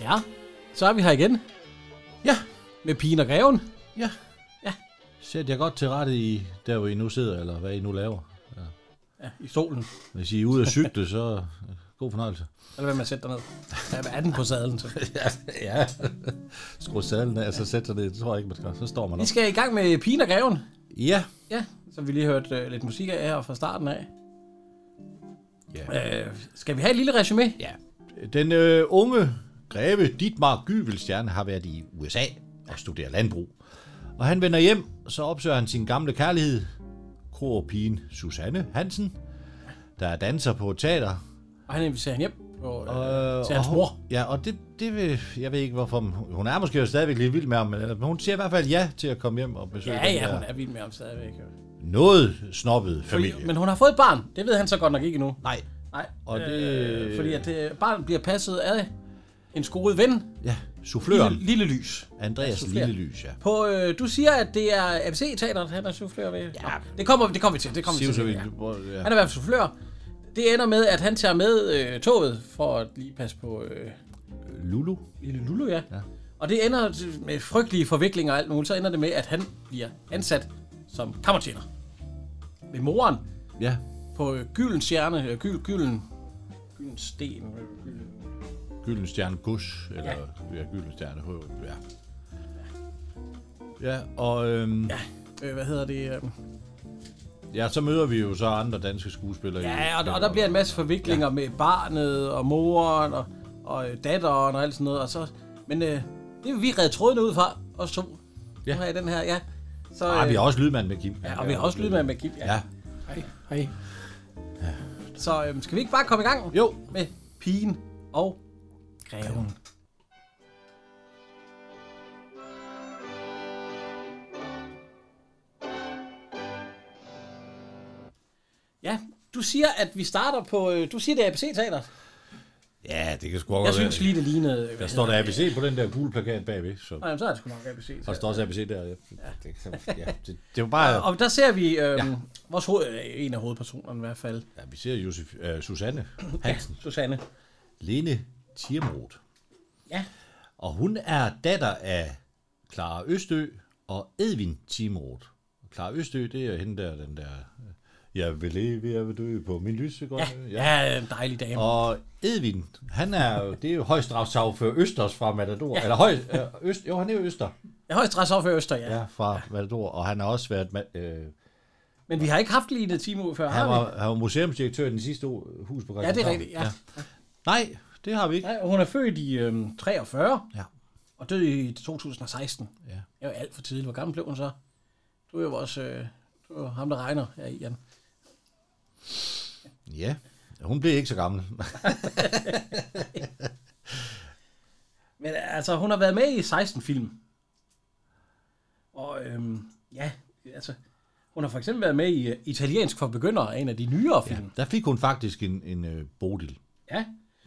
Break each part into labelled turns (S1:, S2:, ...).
S1: Ja, så er vi her igen
S2: Ja,
S1: med pigen og greven.
S2: ja.
S1: Ja.
S2: Sæt jer godt til rette i, der hvor I nu sidder, eller hvad I nu laver.
S1: Ja, i solen.
S2: Hvis I er ude at cykle, så øh, god fornøjelse.
S1: Eller hvad man sætter ned. Ja, hvad er den på sadlen så?
S2: ja, ja. Skru sadlen af, så sæt sig ned. Det tror jeg ikke, man skal. Så står man
S1: Vi
S2: op.
S1: skal i gang med pigen og greven.
S2: Ja.
S1: Ja, som vi lige hørte øh, lidt musik af her fra starten af.
S2: ja.
S1: Øh, skal vi have et lille resume? Ja.
S2: Den øh, unge greve Dietmar Gyvelstjerne har været i USA og studerer landbrug. Og han vender hjem, så opsøger han sin gamle kærlighed, kroerpigen Susanne Hansen, der er danser på et teater,
S1: Og han inviterer hende hjem på, øh,
S2: Øh,
S1: til hans
S2: og-
S1: mor.
S2: Ja, og det, det vil, jeg ved ikke hvorfor, hun er måske jo stadigvæk lidt vild med ham, men men hun siger i hvert fald ja til at komme hjem og besøge
S1: Ja,
S2: den
S1: ja,
S2: der
S1: hun er vild med ham stadigvæk. jo.
S2: noget snobbet
S1: Fordi,
S2: familie.
S1: men hun har fået et barn. Det ved han så godt nok ikke endnu.
S2: Nej,
S1: Nej,
S2: Og det-
S1: fordi at øh, barnet bliver passet af en skoet ven,
S2: ja,
S1: lille,
S2: souffløren,
S1: lille Lys.
S2: Andreas
S1: soufflør.
S2: Lille Lys, ja.
S1: På, øh, du siger, at det er ABC-teateret, han er soufflør ved. Ja. Det kommer, det kommer vi til. Det kommer vi
S2: Siv,
S1: til.
S2: så vi,
S1: ja.
S2: ja.
S1: Han er i hvert fald soufflør. Det ender med, at han tager med øh, toget for at lige passe på øh,
S2: Lulu?
S1: lille Lulu, ja. ja. Og det ender med frygtelige forviklinger og alt muligt. Så ender det med, at han bliver ansat som kammertjener. Ved moren
S2: Ja,
S1: på øh, gyldens stjerne, øh, gyld, gylden, gyldens sten. øh, Gylden.
S2: Gylden Stjerne Gus, eller ja. Gylden Stjerne H, ja. Ja, og øhm, ja.
S1: Øh, hvad hedder det? Øh,
S2: ja, så møder vi jo så andre danske skuespillere. i-
S1: Ja, og, og der bliver en masse forviklinger ja. med barnet og moren og, og øh, datteren og alt sådan noget. Og så, men øh, det vil vi redde tråden ud fra, os to. Ja.
S2: Ja.
S1: Nu har jeg den her, ja. Så,
S2: Ah, vi har
S1: øh,
S2: også lydmand med Kim.
S1: ja, og vi har også lydmand med Gip. Ja.
S2: Ja.
S1: Hej. Hej. Så øh, skal vi ikke bare komme i gang
S2: Jo,
S1: med pigen og greven? Ja, du siger, at vi starter på... øh, Du siger, det er ABC-teateret.
S2: ja, det kan sgu godt
S1: Jeg
S2: være.
S1: synes lige, det lignede...
S2: Der står der ABC på den der gule plakat bagved, så
S1: Nej, så er det sgu nok ABC.
S2: og der står også ABC der. Ja. Det, kan- ja, det, det var bare,
S1: Og der ser vi øhm, ja. vores hoved, øh, en af hovedpersonerne i hvert fald,
S2: ja, vi ser Josef, uh, Susanne Hansen,
S1: Susanne.
S2: Lene Tirmroth.
S1: Ja.
S2: Og hun er datter af Clara Østø og Edvin Tirmroth. Clara Østø, det er hende der, den der, øh, jeg vil leve, jeg vil dø på min lysegrønne.
S1: Øh, Ja, en dejlig dame. Og,
S2: Og Edvin, han er jo, det er jo højstrafsagfører Østers fra Matador. Ja. Eller høj, øh, øst, jo, han er jo Øster
S1: jeg har stress over for Øster, ja. ja.
S2: ja, fra Matador. Og han har også været ma- øh,
S1: Men vi har ikke haft Line Timo før, har
S2: Han
S1: vi?
S2: var, han var museumsdirektør i den sidste o- hus på
S1: Ja, det er
S2: Christianshavn.
S1: rigtigt, ja. ja.
S2: Nej, det har vi ikke.
S1: Nej, og hun er født i øhm, 43
S2: Ja.
S1: og døde i 2016.
S2: Ja.
S1: Det var alt for tidligt. Hvor gammel blev hun så? Du er jo vores... Øh, du er jo ham, der regner her i Jan.
S2: ja. Hun blev ikke så gammel.
S1: Men altså, hun har været med i 16 film. Og øhm, ja, altså, hun har for eksempel været med i øh, Italiensk for Begyndere, en af de nyere film.
S2: Der fik hun faktisk en, en øh, bodil.
S1: Ja. ja.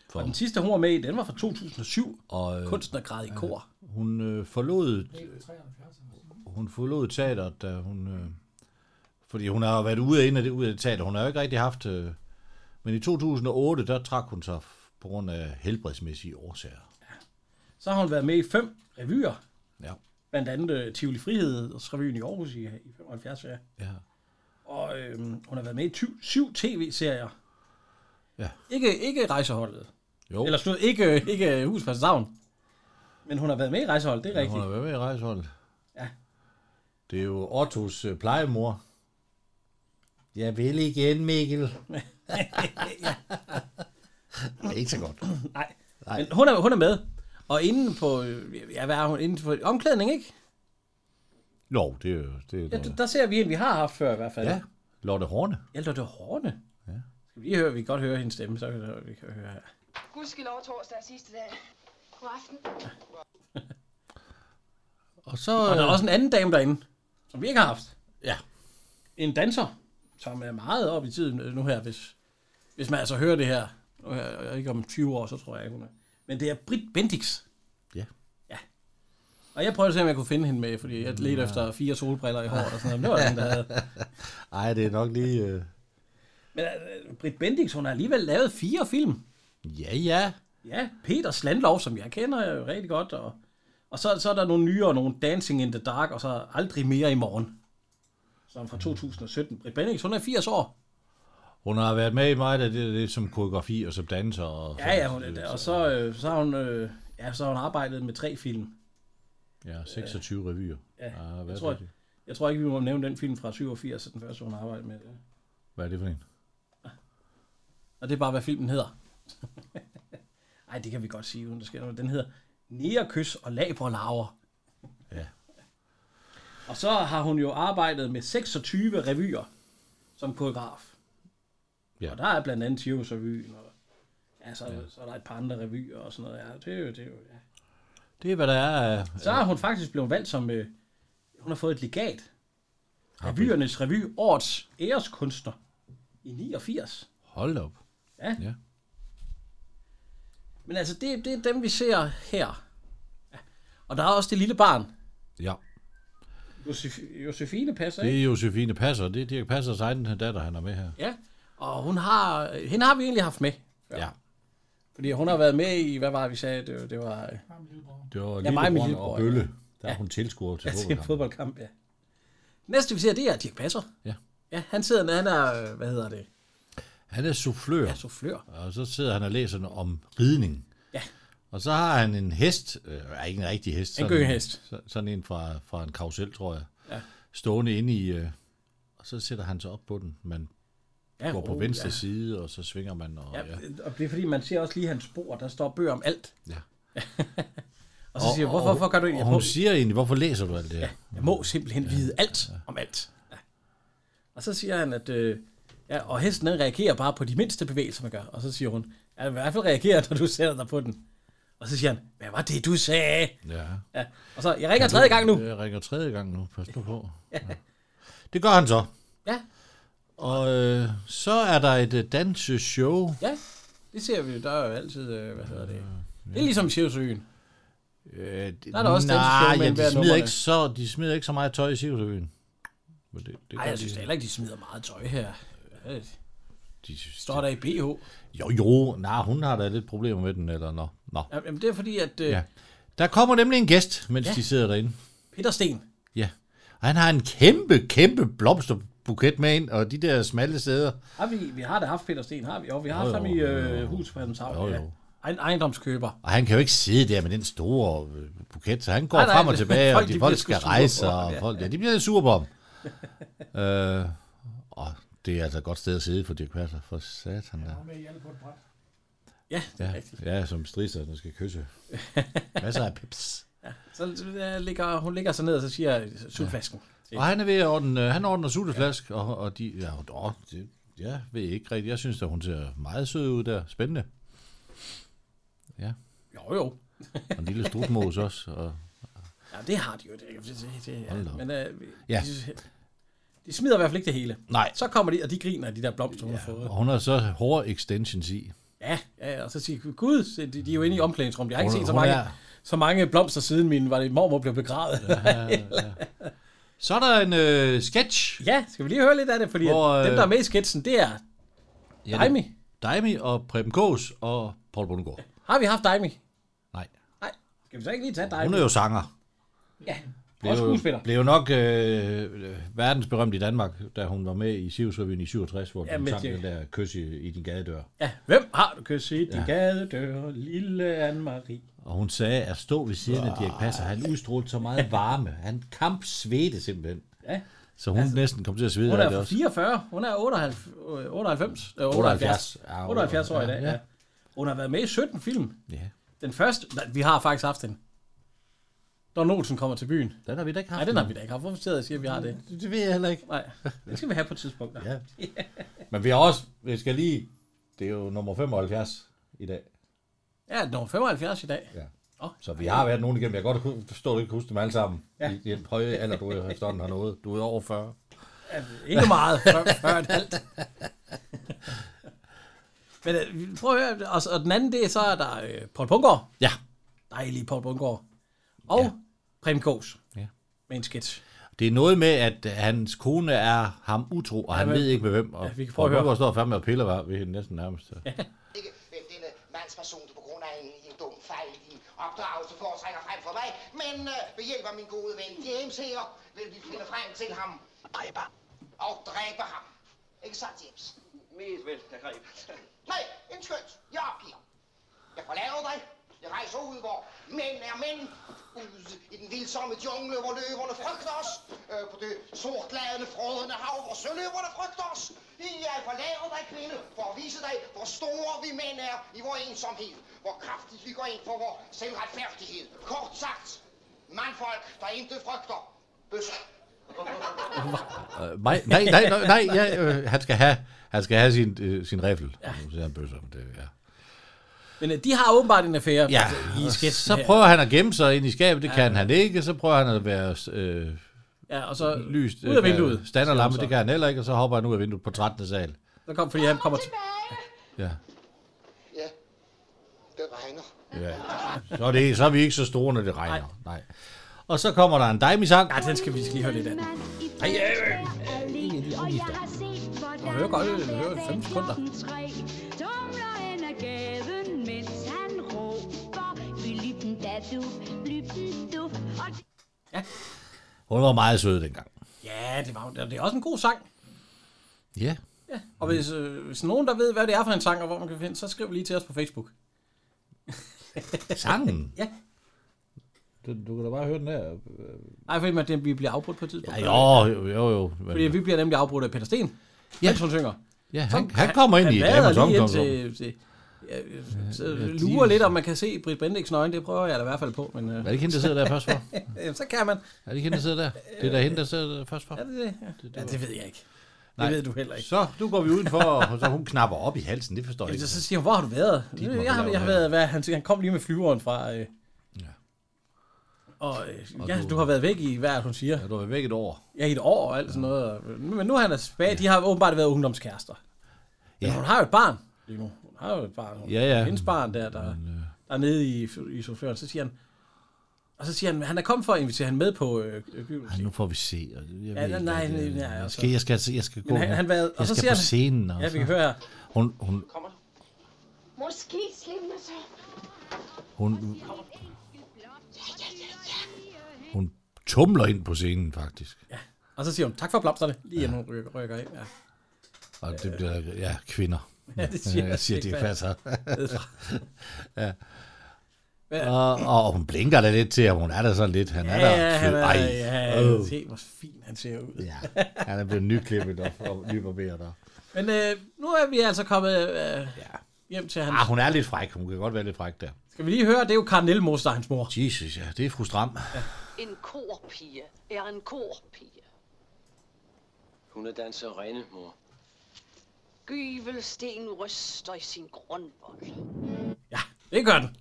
S2: For,
S1: Og den sidste, hun var med i, den var fra 2007.
S2: og øh,
S1: Kunstnergrad i kor.
S2: hun øh, forlod... Hun forlod teateret, da hun... Øh, fordi hun har jo været ude og ind af det, ude af det teater. Hun har jo ikke rigtig haft... Øh, men i 2008, der trak hun sig f- på grund af helbredsmæssige årsager.
S1: Så har hun været med i fem revyer.
S2: Ja.
S1: Blandt andet uh, Tivoli Frihedsrevyen i Aarhus i, i 75. Ja.
S2: ja.
S1: Og øhm, hun har været med i ty- syv tv-serier.
S2: Ja.
S1: Ikke, ikke rejseholdet.
S2: Jo,
S1: Eller slut, ikke, ikke Hus på Savn. Men hun har været med i rejseholdet, det er
S2: hun
S1: rigtigt.
S2: har været med i rejseholdet.
S1: Ja.
S2: Det er jo Ottos øh, plejemor. Jeg vil igen, Mikkel. Det er ikke så godt.
S1: Nej.
S2: Nej.
S1: Men hun er, hun er med. Og inde på, øh, ja, hvad er hun? Inde på omklædning, ikke?
S2: Jo, det er jo... Det er
S1: Ja,
S2: noget-
S1: der, der ser vi en, vi har haft før i hvert fald.
S2: ja. Lotte Horne.
S1: Eller det var Horne. Ja. Skal vi lige høre, vi kan godt høre hendes stemme, så kan det- vi kan høre her.
S3: Gudskelov torsdag er sidste dag. God aften.
S2: Og så... øh,
S1: Og der er også en anden dame derinde, som vi ikke har haft.
S2: Ja.
S1: En danser, som er meget op i tiden øh, nu her, hvis, hvis man altså hører det her. Nu her, og ikke om 20 år, så tror jeg ikke, hun er. Men det er Britt Bendix.
S2: Ja.
S1: Ja. Og jeg prøvede at se, om jeg kunne finde hende med, fordi jeg ledte efter fire solbriller i håret og sådan noget. Men det var der ingen, der havde.
S2: Ej, det er nok lige... Øh...
S1: Men uh, Britt Bendix, hun har alligevel lavet fire film.
S2: Ja, ja.
S1: Ja, Peter Slandlov, som jeg kender jo rigtig godt. Og, og så, så er der nogle nye, og nogle Dancing in the Dark, og så Aldrig mere i morgen. Som fra 2017. Britt Bendix, hun er 80 år.
S2: Hun har været med i meget af det, det som koreografi og som danser. Og
S1: Ja, ja, hun er der. Og så, øh, så har hun... Øh, ja, så har hun arbejdet med tre film.
S2: Ja, 26 revyer.
S1: Ja,
S2: Ah, hvad,
S1: jeg
S2: er
S1: tror,
S2: det?
S1: jeg tror ikke, vi må nævne den film fra 87, den første, hun har arbejdet med.
S2: hvad er det for en?
S1: Og det er bare, hvad filmen hedder. Nej, det kan vi godt sige, uden der sker noget. Den hedder Nærkys og Laberlaver.
S2: Ja.
S1: Og så har hun jo arbejdet med 26 revyer som koreograf.
S2: Ja.
S1: Og der er blandt andet Tivos revyen, og ja, så, ja. så er der et par andre revyer og sådan noget. Ja, det er jo, det er jo, ja.
S2: Det er, hvad der er. øh,
S1: Så er hun faktisk blevet valgt som, øh, hun har fået et legat. Revyernes revy, årets æreskunstner i 89.
S2: Hold op.
S1: Ja.
S2: Ja.
S1: Men altså, det, det er dem, vi ser her. Ja. Og der er også det lille barn.
S2: ja.
S1: Josef- Josefine passer, ikke?
S2: Det er Josefine Passer. Det er Dirk Passers egen datter, han er med her.
S1: Ja. Og hun har, hende har vi egentlig haft med.
S2: Ja.
S1: Fordi hun har været med i, hvad var det, vi sagde, det, var- det var øh,
S2: Det var
S1: mig og
S2: Lillebror
S1: min lillebror,
S2: og Bølle. Der er hun tilskuer til
S1: ja, til en
S2: fodboldkampen.
S1: fodboldkamp, ja. Næste, vi ser, det er Dirk Passer.
S2: Ja.
S1: Ja, han sidder, han er, øh, hvad hedder det,
S2: Han er soufflør.
S1: ja, soufflør.
S2: Og så sidder han og læser noget om ridning.
S1: Ja.
S2: Og så har han en hest, øh, er ikke en rigtig hest. sådan
S1: gyngehest.
S2: så- Sådan en fra, fra en karusel, tror jeg.
S1: Ja.
S2: Stående inde i, øh, og så sætter han sig op på den. Man
S1: Ja,
S2: går på
S1: oh,
S2: venstre side, og så svinger man. Og,
S1: Ja.
S2: ja.
S1: ja. og det er fordi, man ser også lige hans spor, der står bøger om alt.
S2: Ja.
S1: Og så siger jeg, hvorfor, hvorfor gør du
S2: Og
S1: egentlig? Jeg
S2: hun
S1: må,
S2: siger egentlig, hvorfor læser du alt det her?
S1: jeg må simpelthen vide alt om alt. Ja. Og så siger han, at... Øh, ja, og hesten den reagerer bare på de mindste bevægelser, man gør. Og så siger hun, ja, i hvert fald reagerer, når du sætter dig på den. Og så siger han, hvad var det, du sagde?
S2: Ja.
S1: Ja. Og så, jeg ringer tredje gang nu.
S2: Jeg ringer tredje gang nu, pas nu på. Ja. Det gør han så.
S1: Ja,
S2: Og øh, så er der et øh, danseshow.
S1: ja. Det ser vi jo. Der er jo altid, øh, hvad hedder det? Det er ligesom Sjævsøen.
S2: Øh, det,
S1: Der er der også danseshow
S2: nej,
S1: mellem
S2: ja,
S1: hver
S2: de smider,
S1: nummerne.
S2: ikke så, de smider ikke så meget tøj i Sivsøen. Men det, det
S1: Nej,
S2: gør
S1: jeg synes da
S2: de.
S1: heller ikke, de smider meget tøj her. Ja,
S2: de synes,
S1: Står der i BH?
S2: Jo, jo, nej, hun har da lidt problemer med den, eller nå. nå.
S1: Jamen, det er fordi, at øh,
S2: Ja. Der kommer nemlig en gæst, mens
S1: Ja.
S2: ja. de sidder derinde.
S1: Peter Sten,
S2: Ja. Og han har en kæmpe, kæmpe blomsterbuket med ind, og de der smalle sæder.
S1: Har vi, vi har da haft Peter Sten, har vi? Og vi har haft
S2: Jo,
S1: ham
S2: jo,
S1: i
S2: jo,
S1: øh,
S2: jo.
S1: hus på
S2: Jo,
S1: Adamshavn.
S2: jo.
S1: Ja. Ej- ejendomskøber.
S2: Og han kan jo ikke sidde der med den store øh, buket, så han går
S1: Nej,
S2: nej,
S1: nej,
S2: nej, frem og
S1: det-
S2: tilbage,
S1: folk,
S2: og de,
S1: de
S2: folk
S1: bliver
S2: skal
S1: sgu sure
S2: rejse,
S1: på ham,
S2: og
S1: ja.
S2: folk, ja, de bliver lidt sure på ham. øh, og det er altså et godt sted at sidde for Dirk Passer, for satan der.
S1: Ja, det er
S2: Ja,
S1: rigtigt.
S2: ja som strisser, der skal kysse. Masser af pips.
S1: Så øh, ligger, hun ligger sig ned, og så siger jeg, sutflasken. Ja.
S2: Og han er ved at ordne, øh, han ordner sutteflask, og, og de, ja, og, åh, det, jeg ved ikke rigtigt, jeg synes, at hun ser meget sød ud der, spændende. Ja,
S1: Jo, jo.
S2: og en lille strutmås også, og
S1: Ja, det har de jo. Det, det, det, det ja.
S2: Hold da op.
S1: Men øh, vi-
S2: Ja.
S1: de, de smider i hvert fald ikke det hele.
S2: Nej.
S1: Så kommer de, og de griner, de der blomster, hun har fået.
S2: Og hun har så hårde extensions i.
S1: Ja, ja, og så siger jeg, gud, se, de, de er jo inde i omklædningsrummet. Jeg har ikke
S2: Hun-
S1: set så
S2: hun
S1: mange,
S2: er-
S1: så mange blomster siden min, var det mormor blev begravet. Ja,
S2: Så er der en øh, sketch.
S1: skal vi lige høre lidt af det? Fordi
S2: Hvor,
S1: Hvor,
S2: øh,
S1: dem, der er med i sketsen, det er
S2: Ja, det-
S1: Daimi.
S2: Daimi og Preben Gås og Paul Bundgaard.
S1: Har vi haft Daimi?
S2: Nej,
S1: Nej, skal vi så ikke lige tage Daimi?
S2: hun er jo sanger.
S1: Ja,
S2: Blev
S1: og
S2: jo-
S1: skuespiller.
S2: Blev jo nok øh, øh, verdensberømt i Danmark, da hun var med i Sivsrevyen i 67, hvor
S1: Ja,
S2: ja, hun
S1: med
S2: sang
S1: det-
S2: den der kys i, i din gadedør.
S1: Ja, hvem har du kysset i din gadedør, lille Anne-Marie?
S2: Og hun sagde, at stå ved siden af Dirk Passer, han udstrålte så meget varme. Han kamp svedte simpelthen.
S1: Ja,
S2: Så hun altså, næsten kom til at svede
S1: hun
S2: af
S1: er
S2: det
S1: fra
S2: også.
S1: 44, hun er 98, øh, 98, øh,
S2: 78.
S1: 78,
S2: Ja,
S1: 78 år i dag.
S2: ja.
S1: Ja. Hun har været med i 17 film.
S2: Ja,
S1: Den første, nej, vi har faktisk haft den. Når Olsen kommer til byen.
S2: den har vi da ikke haft.
S1: Nej, den har vi da ikke haft. Hvorfor sidder jeg og siger, at vi har det?
S2: Det ved jeg heller ikke.
S1: Nej, det skal vi have på et tidspunkt. Ja.
S2: Ja. Men vi har også, vi skal lige Det er jo nummer 75 i dag.
S1: Ja, nummer 75 i dag.
S2: Ja.
S1: Åh.
S2: Så vi har været nogen igennem. Jeg kan godt hu- forstå, at du ikke kan huske dem alle sammen. Ja. I i den høje alder, du efterhånden har nået. Du er over 40.
S1: Ikke meget, før, før et halvt. Men øh, prøv at høre, og, og den anden, det er så, er der øh, Paul Bungård.
S2: Ja.
S1: Dejlig Paul Bungård. Og ja. Prem Kås.
S2: Ja.
S1: Med en sketch.
S2: Det er noget med, at hans kone er ham utro, og han
S1: men-
S2: ved ikke med hvem. Og
S1: Ja, vi kan prøve
S2: og
S1: at høre.
S2: Bundgaard står fandme og piller var ved hende næsten nærmest. Ja.
S3: Ikke hvem denne øh, mandsperson, du på grund af en, en dum fejl i din opdragelse foretrækker frem for mig, men øh, ved hjælp af min gode ven James her, vil vi finde frem til ham. Dræber. Og dræber ham. Ikke sandt, James?
S4: Mest vel, der greb.
S3: Nej, en skønt. Jeg opgiver. Jeg forlader dig. Jeg rejser ud, hvor mænd er mænd. Ude i den vildsomme jungle, hvor løverne frygter os. Øh, på det sortladende, frådende hav, hvor søløverne frygter os. Jeg forlader dig, kvinde, for at vise dig, hvor store vi mænd er i vores ensomhed. Hvor kraftigt vi går ind for vores selvretfærdighed. Kort sagt, mandfolk, der intet frygter. Bøsser.
S2: Øh, nej, nej, nej, nej, nej ja, øh, han, skal have, han skal have sin, øh, sin riffel. Ja. Så siger han bøsser. Det, ja.
S1: Men øh, de har åbenbart en affære
S2: Ja,
S1: altså, i
S2: og
S1: sketchen
S2: så
S1: her.
S2: prøver han at gemme sig ind i skabet, det ja. kan han ikke. Så prøver han at være øh,
S1: Ja, og så
S2: lyst.
S1: ud af vinduet.
S2: Standerlamme,
S1: Så-
S2: øh, det kan han heller ikke, og så hopper han ud af vinduet på 13. sal.
S1: Så kom, fordi han kommer til...
S2: Ja.
S3: Ja, det regner.
S2: ja. Så, er det, så er vi ikke så store, når det regner. Nej. Nej. Og så kommer der en dejlig sang.
S1: Ja, den skal vi lige høre lidt af.
S5: Ej, øh,
S1: en af de
S5: Og jeg
S1: afgifter.
S5: har set, hvordan
S1: Og hører godt,
S5: han
S1: øh, hører
S5: hver dag
S1: 5 sekunder.
S5: klokken tre Tumler hen ad gaden, mens han råber. Lytten da du, lytten du. Og
S2: Hun var meget sød dengang.
S1: Ja, det var jo- det er også en god sang.
S2: Ja.
S1: Og hvis, øh, hvis nogen, der ved, hvad det er for en sang, og hvor man kan finde, så skriv lige til os på Facebook.
S2: Sangen?
S1: Ja.
S2: Du, du kan da bare høre den her.
S1: Nej, fordi man, det, vi bliver afbrudt på et tidspunkt.
S2: Jo, jo, jo. jo.
S1: Fordi
S2: Men,
S1: vi bliver nemlig afbrudt af Peter Sten, ja. mens hun synger.
S2: ja, han, han kommer ind i
S1: vader
S2: damernes
S1: lige ind
S2: omkomst.
S1: til, til ja, øh, så lurer lidt, om man kan se Britt Bendiksen øjne. Det prøver jeg da i hvert fald på, men øh,
S2: Er det ikke hende, der sidder der først for?
S1: øh, så kan man.
S2: Er det ikke hende, der sidder der? Det er da hende, der sidder der først for.
S1: Er det det? Ja, det ved jeg ikke.
S2: Nej.
S1: Det ved du heller ikke.
S2: Så, nu går vi udenfor, og så hun knapper op i halsen. Det forstår jeg
S1: Så,
S2: ikke.
S1: så siger hun, hvor har du været?
S2: må
S1: Jeg, jeg, har,
S2: lave
S1: jeg har
S2: det.
S1: været, hvad, han, siger, han kom lige med flyveren fra... Øh, og, øh, ja, du har været væk i, hvad er det, hun siger?
S2: Ja, du har været væk et år.
S1: Ja, i et år og alt sådan noget. og- Men nu er han altså tilbage. De har åbenbart været ungdomskærester. Ja. Men hun har jo et barn. lige nu. Hun har jo et barn. Hun,
S2: Ja, øh- ja.
S1: Hendes barn der, der, der er nede i, i chaufføren. Så siger han, og så siger han, han er kommet for at invitere han med på øh, øh, gyldens.
S2: Ej, nu får vi se. og Jeg ved
S1: nej,
S2: ikke,
S1: nej,
S2: at det-
S1: nej, nej,
S2: jeg
S1: altså.
S2: skal, jeg skal, jeg skal gå.
S1: Men han,
S2: nu.
S1: han været, og
S2: jeg
S1: så
S2: skal
S1: siger
S2: på
S1: han,
S2: scenen. Og
S1: ja, vi kan
S2: så-
S1: høre her.
S2: Hun, hun,
S4: Kommer du?
S3: Måske slipper så.
S2: hun, hun tumler ind på scenen, faktisk.
S1: Og så siger hun, tak for blomsterne, lige inden hun rykker, rykker ind. Ja.
S2: Og det bliver, ja, kvinder.
S1: Ja, det siger
S2: jeg siger, det
S1: Dirch
S2: er
S1: Passer.
S2: passer.
S1: Hvad-
S2: ja. Og, og hun blinker da lidt til, at hun er der sådan lidt. Han er
S1: Ja,
S2: der.
S1: ja, han
S2: fed.
S1: er,
S2: Ej,
S1: ja,
S2: øh.
S1: øh. se, hvor fin han ser ud.
S2: ja, han er blevet nyklippet og, og nybarberet. Og.
S1: Men øh, nu er vi altså kommet øh, hjem til hans...
S2: Ah, hun er lidt fræk. Hun kan godt være lidt fræk der.
S1: Skal vi lige høre, det er jo Karen Nielmos, der er hans mor.
S2: Jesus, ja, det er fru Stram.
S6: En korpige er en korpige.
S4: Hun er danserinde, mor.
S6: Gyvelsten ryster i sin grundvold.
S1: Ja, det gør den.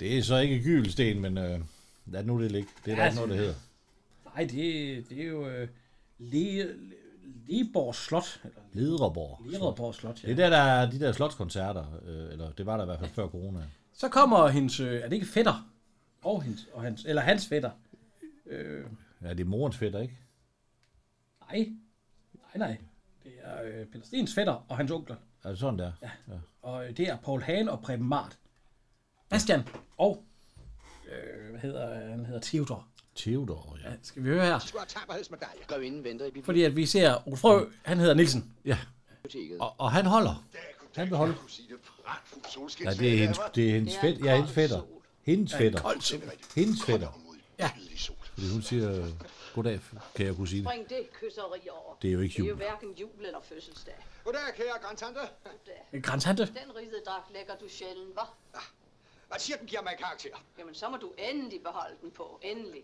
S2: Det er så ikke gyldesten, men øh, lad nu det ligge. Det er ja,
S1: Ja,
S2: der ikke noget, der hedder.
S1: Nej, det, det er jo øh, Le, Leborg Slot. Eller
S2: Lederborg.
S1: Leborg Slot,
S2: Det er
S1: ja.
S2: der, der er de der slotskoncerter, øh, eller det var der i hvert fald før corona.
S1: Så kommer hendes, øh, er det ikke fætter? Og hendes, og hans, eller hans fætter. Øh,
S2: Ja, det er morens fætter, ikke?
S1: nej, nej, nej. Det er øh, Peter Stens fætter og hans onkler.
S2: Er det sådan der? Ja.
S1: Og øh, det er Paul Hagen og Preben Mart. Bastian og, øh, hvad hedder han, hedder Theodor.
S2: Theodor, ja.
S1: Ja, skal vi høre her?
S4: Du har tapperhedsmedalje. Gør inden venter i
S1: Fordi at vi ser Ole Frø, han hedder Nielsen.
S4: biblioteket.
S2: Og, og han holder. Han vil holde. Ja, det er hendes, det er hendes, fæt, ja, hendes fætter. Hendes fætter. Hendes fætter.
S1: Ja.
S2: Fordi hun siger, øh, goddag, kære kusine.
S6: Bring det kysseri over.
S2: Det er jo ikke
S6: Det er jo
S2: jul.
S6: hverken jul eller fødselsdag.
S3: Goddag, kære grandtante.
S1: Grænshante.
S6: Den ridedragt lægger du sjældent, hva?
S3: Ah, Hvad siger den giver mig karakter?
S6: Jamen, så må du endelig beholde den på. Endelig.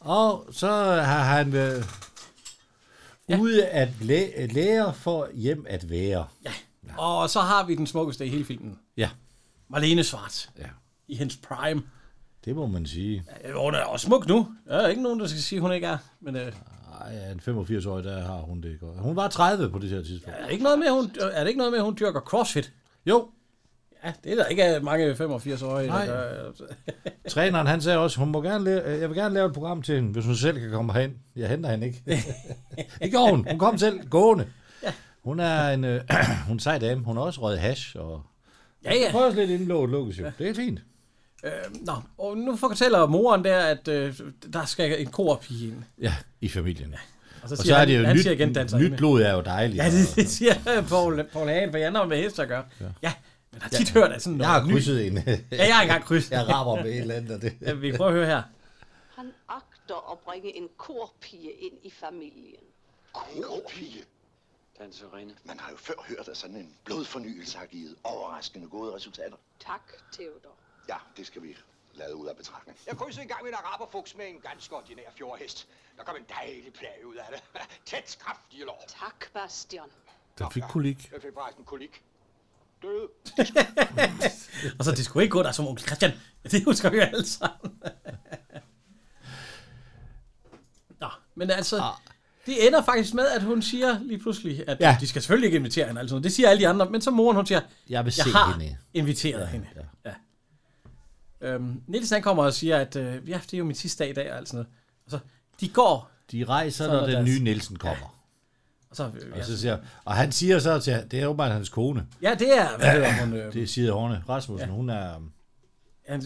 S2: Og så har han... Øh,
S1: Ja.
S2: Ude at læ- lære for hjem at være.
S1: Ja. Og så har vi den smukkeste i hele filmen.
S2: Ja.
S1: Marlene Schwartz.
S2: ja.
S1: I hendes prime.
S2: Det må man sige.
S1: Øh, Hun er også smuk nu. Ja, der er ikke nogen, der skal sige, hun ikke er. Men øh,
S2: Ej, en 85-årig, der har hun det godt. Hun var 30 på det her tidspunkt.
S1: er, der ikke noget med, hun, er det ikke noget med, at hun dyrker crossfit?
S2: Jo,
S1: Ja, det er der ikke øh, mange 85-årige, der
S2: Nej.
S1: gør. øh,
S2: træneren han sagde også, hun må gerne lave, jeg vil gerne lave et program til hende, hvis hun selv kan komme herind. Jeg henter hende ikke. det gjorde hun. Hun kom selv gående. Hun er en, øh, hun er en sej dame. Hun har også røget hash. Og...
S1: Ja, ja.
S2: Prøv også lidt inden låget lukkes jo. Det er fint.
S1: Øh, nå, og nu fortæller moren der, at øh, der skal en korpige ind.
S2: Ja, i familien.
S1: Og så
S2: Og så
S1: siger
S2: er
S1: han,
S2: det jo
S1: han
S2: nyt,
S1: siger igen, danser
S2: nyt
S1: nyt
S2: blod er jo dejligt.
S1: Ja, det, det siger Paul, Paul Hagen, for jeg har med heste at gøre. Ja. ja, men har tit ja. hørt af sådan
S2: Jeg
S1: noget.
S2: har
S1: nyt.
S2: krydset en.
S1: Ja, jeg har engang krydset.
S2: jeg rammer med et eller andet. og Det.
S1: Ja, vi prøver at høre her.
S6: Han agter at bringe en korpige ind i familien.
S3: Korpige.
S4: Danserinde.
S3: Man har jo før hørt, at sådan en blodfornyelse har givet overraskende gode resultater.
S6: Tak, Theodor.
S3: Ja, det skal vi lade ud af betragtning.
S7: Jeg krydsede engang en araberfuks med en ganske ordinær fjordhest. Der kom en dejlig plage ud af det. Tæt kraftige lår.
S6: Tak, Bastian.
S8: Den fik kolik.
S7: Jeg fik forresten kolik. Døde.
S1: Og så, det skulle ikke gå der som onkel Christian. Det husker vi jo alle sammen. Nå, men altså,
S2: Ah.
S1: det ender faktisk med, at hun siger lige pludselig, at ja.
S2: Ja.
S1: de skal selvfølgelig ikke invitere hende. Altså. Det siger alle de andre, men så moren, hun siger,
S2: Jeg vil se
S1: jeg har
S2: hende.
S1: inviteret ja, hende. Ja. Ja. Øhm, Niels han kommer og siger, at øh, ja, det er jo min sidste dag i dag, og alt sådan noget. Og så, de går,
S2: De rejser,
S1: Sådan
S2: når
S1: er
S2: den
S1: deres-
S2: nye Nielsen kommer.
S1: og så, øh,
S2: Og,
S1: ja,
S2: så siger, og han siger så til, det er åbenbart hans kone.
S1: ja, det er, hvad hedder hun? Øh,
S2: Det siger Horne Rasmussen. Hun er,
S1: han-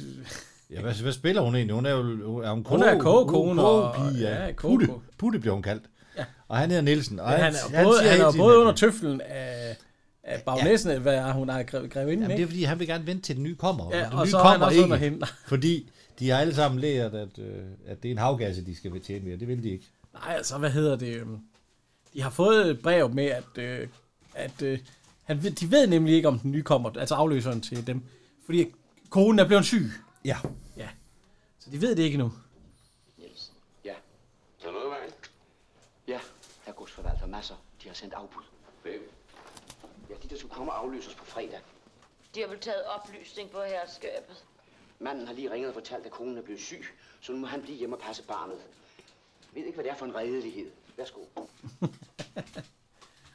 S2: Ja, hvad, hvad spiller hun egentlig? Hun er jo er hun,
S1: Hun er kogekone og-
S2: kogepige, ja.
S1: ja, kogekone.
S2: Putte, Putte bliver hun kaldt. Ja. Og han hedder Nielsen. Og
S1: Men han er
S2: han
S1: både,
S2: siger
S1: han
S2: hele
S1: er
S2: tiden,
S1: både
S2: at-
S1: under tøflen af, af bagnæsen, ja. hvad er hun har grevet grev inden,
S2: Jamen, det er
S1: ikke?
S2: fordi, han vil gerne vente til den nye kommer.
S1: Ja,
S2: men den
S1: og
S2: nye
S1: så er han
S2: kommer
S1: også under
S2: ikke,
S1: hende.
S2: Fordi de har alle sammen lært, at, øh, at det er en havgasse, de skal betjene mere. Det vil de ikke.
S1: Nej, altså, hvad hedder det? øhm, De har fået et brev med, at, øh, at øh, han, ved- de ved nemlig ikke, om den nye kommer, altså afløseren til dem, fordi konen er blevet syg,
S2: Ja.
S1: så de ved det ikke nu.
S4: Nielsen. Ja. Så noget vejen? Ja, der er godsforvalter masser. De har sendt afbud. Hvem? Ja, de der skulle komme og afløses på fredag.
S9: De har vel taget oplysning på herskabet.
S4: Manden har lige ringet og fortalt, at konen er blevet syg, så nu må han blive hjemme og passe barnet. Jeg ved ikke, hvad det er for en redelighed. Værsgo.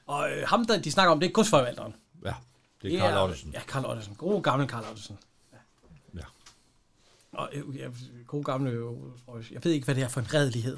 S1: Og øh, ham, der de snakker om, det er godsforvalteren.
S2: Ja, det er Karl Ottesen.
S1: Ja, Karl Ottesen. God gammel Karl Ottesen.
S2: Ja.
S1: Og øh, ja, god gamle, øh, jeg ved ikke, hvad det er for en redelighed.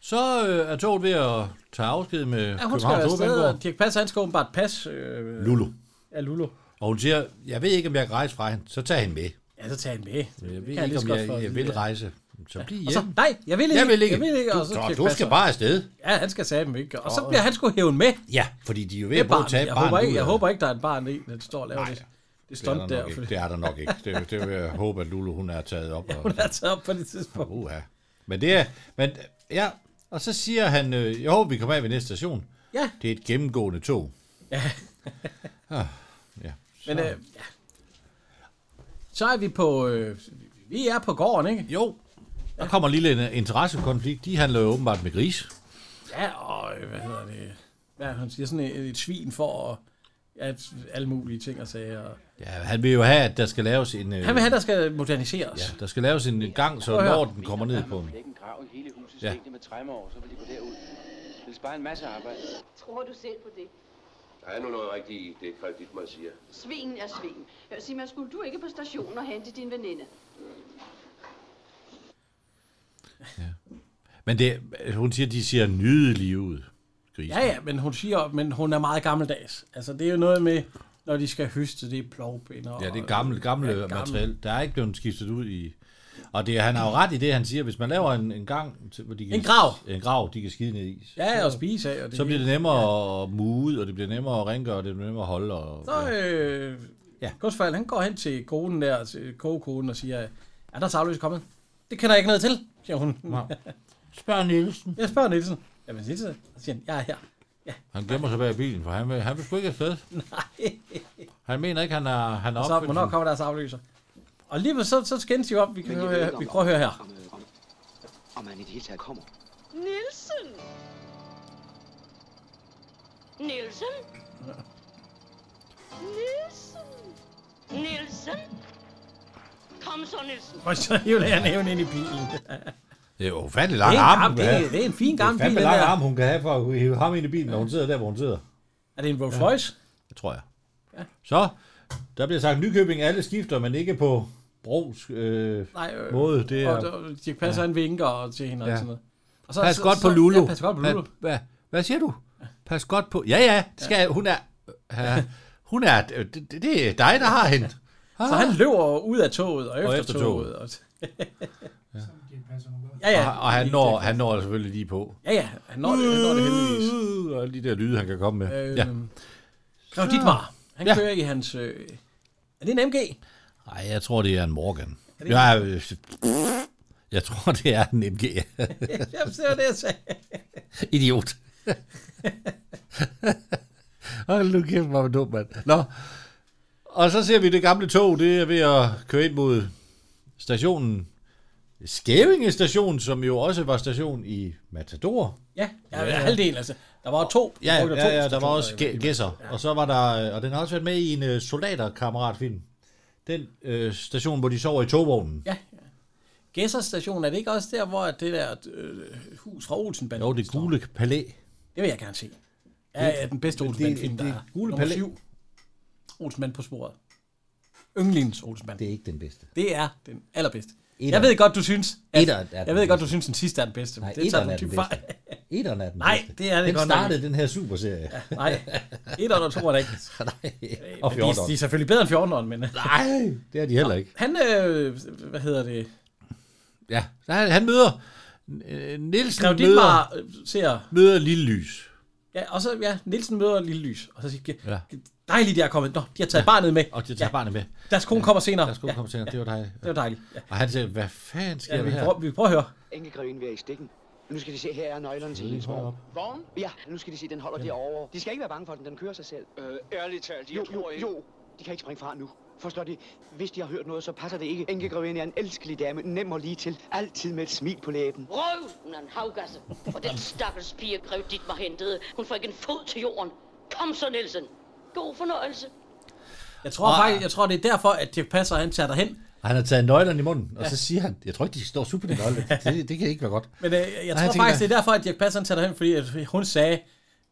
S2: Så øh, er toget ved at tage afsked med
S1: Ja, hun skal jo
S2: Københavns
S1: afsted,
S2: Hovedbanegård.
S1: og Dirk Passer, han skal åbenbart passe øh,
S2: Lulu.
S1: af Lulu.
S2: Og hun siger, jeg ved ikke, om jeg kan rejse fra hende. Så tag hende med.
S1: Ja, så tag en med.
S2: Jeg
S1: Det
S2: ved
S1: kan lige
S2: ikke,
S1: så
S2: om
S1: godt
S2: jeg,
S1: få at
S2: jeg
S1: vide,
S2: vil
S1: ja.
S2: rejse. Så bliv
S1: Og så,
S2: hjemme.
S1: nej, jeg vil ikke.
S2: Jeg vil ikke.
S1: Jeg vil ikke.
S2: Du,
S1: og så
S2: så,
S1: Dirch
S2: du skal
S1: Passer.
S2: bare afsted.
S1: Ja, han skal sige dem ikke. Og så bliver han sgu hævet med.
S2: Ja, fordi de er jo ved
S1: Det
S2: at
S1: er
S2: prøve at
S1: barnet.
S2: tage
S1: Jeg
S2: barnet
S1: håber, ikke,
S2: ud
S1: jeg
S2: af-
S1: håber ikke, der er et barn i, når de står og laver
S2: Nej,
S1: det. Det
S2: det er
S1: stunt
S2: der
S1: der,
S2: nok
S1: for
S2: ikke.
S1: det
S2: Det er der nok ikke. Det, det vil jeg håbe, at Lulu hun er taget op. og,
S1: er taget op på det tidspunkt.
S2: uha. Men det er... Men, ja, og så siger han, øh, jeg håber, vi kommer af ved næste station.
S1: Ja.
S2: Det er et gennemgående tog. Ah, Ja.
S1: Men øh, ja. Så er vi på... Øh, vi er på gården, ikke?
S2: Jo, der kommer en lille en- interessekonflikt. De handler jo åbenbart med gris.
S1: Ja, og øh, hvad hedder det? Hvad er det, hun siger? Sådan et, et svin for at, at alle mulige ting og sager. og-
S2: Ja, han vil jo have, at der skal laves en... Øh,
S1: Han vil have, der skal moderniseres.
S2: Ja, der skal laves en gang, så
S1: at høre.
S2: når den kommer ned på dem.
S4: Det er ikke en grav i hele husets
S2: Ja.
S4: ja. længde med træmmer over, så vil de gå derud. Det vil spare en masse arbejde.
S9: Tror du selv på det?
S10: Der er nu noget rigtigt i det, Kredit, man siger.
S9: Svingen er svingen. Hør, Simon, skulle du ikke på stationen og hente din veninde?
S2: Men det, hun siger, at de ser nydelige ud. Grisen.
S1: Ja, ja, men hun siger, men hun er meget gammeldags. Altså, det er jo noget med, når de skal høste, det er plovbinder.
S2: Ja, det er
S1: og-
S2: gammelt, gamle
S1: Ja,
S2: ja,
S1: gammel.
S2: materiale. Der er ikke blevet skiftet ud i... Og det, han har jo ret i det, han siger. Hvis man laver en, en gang, til, hvor de kan,
S1: En grav.
S2: En grav, de kan skide ned i.
S1: Ja, og spise af. Og det
S2: Så bliver det
S1: hele.
S2: nemmere at mude, og det bliver nemmere at rengøre, og det bliver nemmere at holde. Og,
S1: Så, øh, ja.
S2: Ja.
S1: Godsfald, han går hen til konen der, til kogekonen, og siger, er der savløs kommet? Det kender jeg ikke noget til, siger hun.
S2: Spørg Nielsen.
S1: Jeg spørger Nielsen. Jamen, Nielsen, så siger han, jeg er her.
S2: Han gemmer sig bag bilen, for han vil, han vil sgu ikke afsted.
S1: Nej.
S2: Han mener ikke, han er, han er
S1: Så,
S2: opfyldt.
S1: hvornår kommer deres afløser? Og lige ved- så, så skændes de jo op. Vi, kan
S4: Men jeg
S1: høre,
S4: ved
S1: her.
S4: ikke,
S1: vi
S4: om-
S1: prøver at høre her.
S4: Om, øh, om, om man i det hele taget kommer.
S9: Nielsen!
S5: Nielsen? Nielsen? Nielsen? Kom så, Nielsen.
S1: Og så hiver jeg næven ind i bilen.
S2: Det er jo ufattelig
S1: Det
S2: lang
S1: er en
S2: arm,
S1: arm,
S2: hun
S1: det
S2: kan
S1: er-
S2: have.
S1: det er en fin gammel
S2: Det er fandme
S1: bil, den
S2: lang
S1: der.
S2: arm, hun kan have for at hive ham ind i bilen, når hun sidder der, hvor hun sidder.
S1: er det en Rolls Royce?
S2: Det tror jeg. Så, der bliver sagt, Nykøbing alle skifter, men ikke på Brogs øh,
S1: Nej, øh,
S2: måde. Det er,
S1: Og, og Dirk Passer ja. en vinker og til hende ja.
S2: Ja.
S1: og sådan noget. Og
S2: så, pas godt på Lulu.
S1: Ja, pas godt på Lulu.
S2: Hvad, hvad, hvad siger du? Pas godt på... Ja, ja, det skal, hun er... Ja, hun er... Det, det, det er dig, der har hende.
S1: Så han løber ud af toget og efter,
S2: Ah. efter
S1: toget.
S2: toget.
S1: Og ja,
S2: Ja,
S1: ja.
S2: ja, og, og han, når, han når selvfølgelig lige på. Øh,
S1: Ja, ja. Han når det, han når det heldigvis.
S2: Og alle de der lyde, han kan komme med.
S1: Øh,
S2: ja.
S1: Grev Dietmar. Han
S2: Ah. Ja.
S1: kører i hans... Øh, er det en MG?
S2: Nej, jeg tror, det er en Morgan.
S1: Er det-
S2: Jeg, øh, jeg tror, det er en MG.
S1: Jamen, det var det, jeg sagde.
S2: Idiot. Hold nu kæft, hvor er man dum, mand. Nå. Og så ser vi det gamle tog, det er ved at køre ind mod stationen. Skævinge station, som jo også var station i Matador.
S1: Ja, ja, ja. halvdelen altså. Der var to.
S2: Ja,
S1: der
S2: ja,
S1: brugte to
S2: ja, der var
S1: stationer
S2: også
S1: i-
S2: gæ- gæsser. Og så var der, øh, og den har også været med i en øh, soldaterkammeratfilm. Den øh, station, hvor de sover i togvognen.
S1: Ja, ja. Gæsser station, er det ikke også der, hvor det der øh, hus fra Olsenbanden
S2: Jo, det
S1: står?
S2: gule palæ.
S1: Det vil jeg gerne se. Ja, ja den bedste Olsenband-film,
S2: det-
S1: der
S2: det
S1: er.
S2: gule
S1: Nummer
S2: palæ-
S1: syv. Olsenband på sporet. Yndlings Olsenband.
S2: Det er ikke den bedste.
S1: Det er den allerbedste.
S2: Etteren.
S1: Jeg ved godt, du synes, at,
S2: Etteren er
S1: jeg
S2: den
S1: ved godt,
S2: bedste.
S1: du synes, den sidste er den bedste.
S2: Nej,
S1: men det tager
S2: etteren
S1: du
S2: er den
S1: typ
S2: bedste.
S1: fejl.
S2: Etteren er den
S1: Nej,
S2: bedste.
S1: det er det
S2: den
S1: godt nok
S2: startede den her superserie. Ja.
S1: Nej, etteren og toeren er ikke.
S2: Nej,
S1: Og
S2: og
S1: de, er- de er
S2: 14.
S1: selvfølgelig bedre end 14'eren, men øh,
S2: Nej, det er de heller ikke.
S1: han, øh, hvad hedder det,
S2: Ja, så han, han møder... øh, Nielsen
S1: Grev
S2: møder,
S1: Dietmar øh, ser,
S2: møder Lille Lys.
S1: ja, og så, ja, Nielsen møder Lille Lys, og så siger ja.
S2: Ja.
S1: dejligt, de er kommet, nå, de har taget barnet med,
S2: Og det tager ja. barnet med.
S1: deres kone kommer senere,
S2: Der skulle ja. komme til, det var dig.
S1: det var dejligt, ja,
S2: Og han siger, hvad fanden sker
S1: ja
S2: ja,
S1: vi,
S2: der her?
S1: prøver, vi prøver at høre,
S4: Enkelgreven vil jeg i stikken. Nu skal de se, her er nøglerne til hendes vogn. Vogn? Ja, nu skal de se, den holder derovre. De skal ikke være bange for den, den kører sig selv.
S7: Øh, ærligt talt, jeg
S4: Jo,
S7: tror
S4: jo,
S7: ikke...
S4: jo. De kan ikke springe fra nu. Forstår de? Hvis de har hørt noget, så passer det ikke. Enkegreven er en elskelig dame, nem og lige til. Altid med et smil på læben.
S5: Røven af en havgasse. Og den stakkels pige grev dit mig hentede. Hun får ikke en fod til jorden. Kom så, Nielsen. God fornøjelse.
S1: jeg tror faktisk, jeg tror, det er derfor, at Dirk Passer, han tager dig hen,
S2: Han har taget nøglerne i munden, og så siger han, jeg tror ikke, de står super de nøgler. Det, det kan ikke være godt.
S1: Men øh, jeg,
S2: Nej,
S1: jeg tror
S2: jeg tænker-
S1: faktisk, det er derfor, at Dirk Passer han tager derhen, fordi at hun sagde,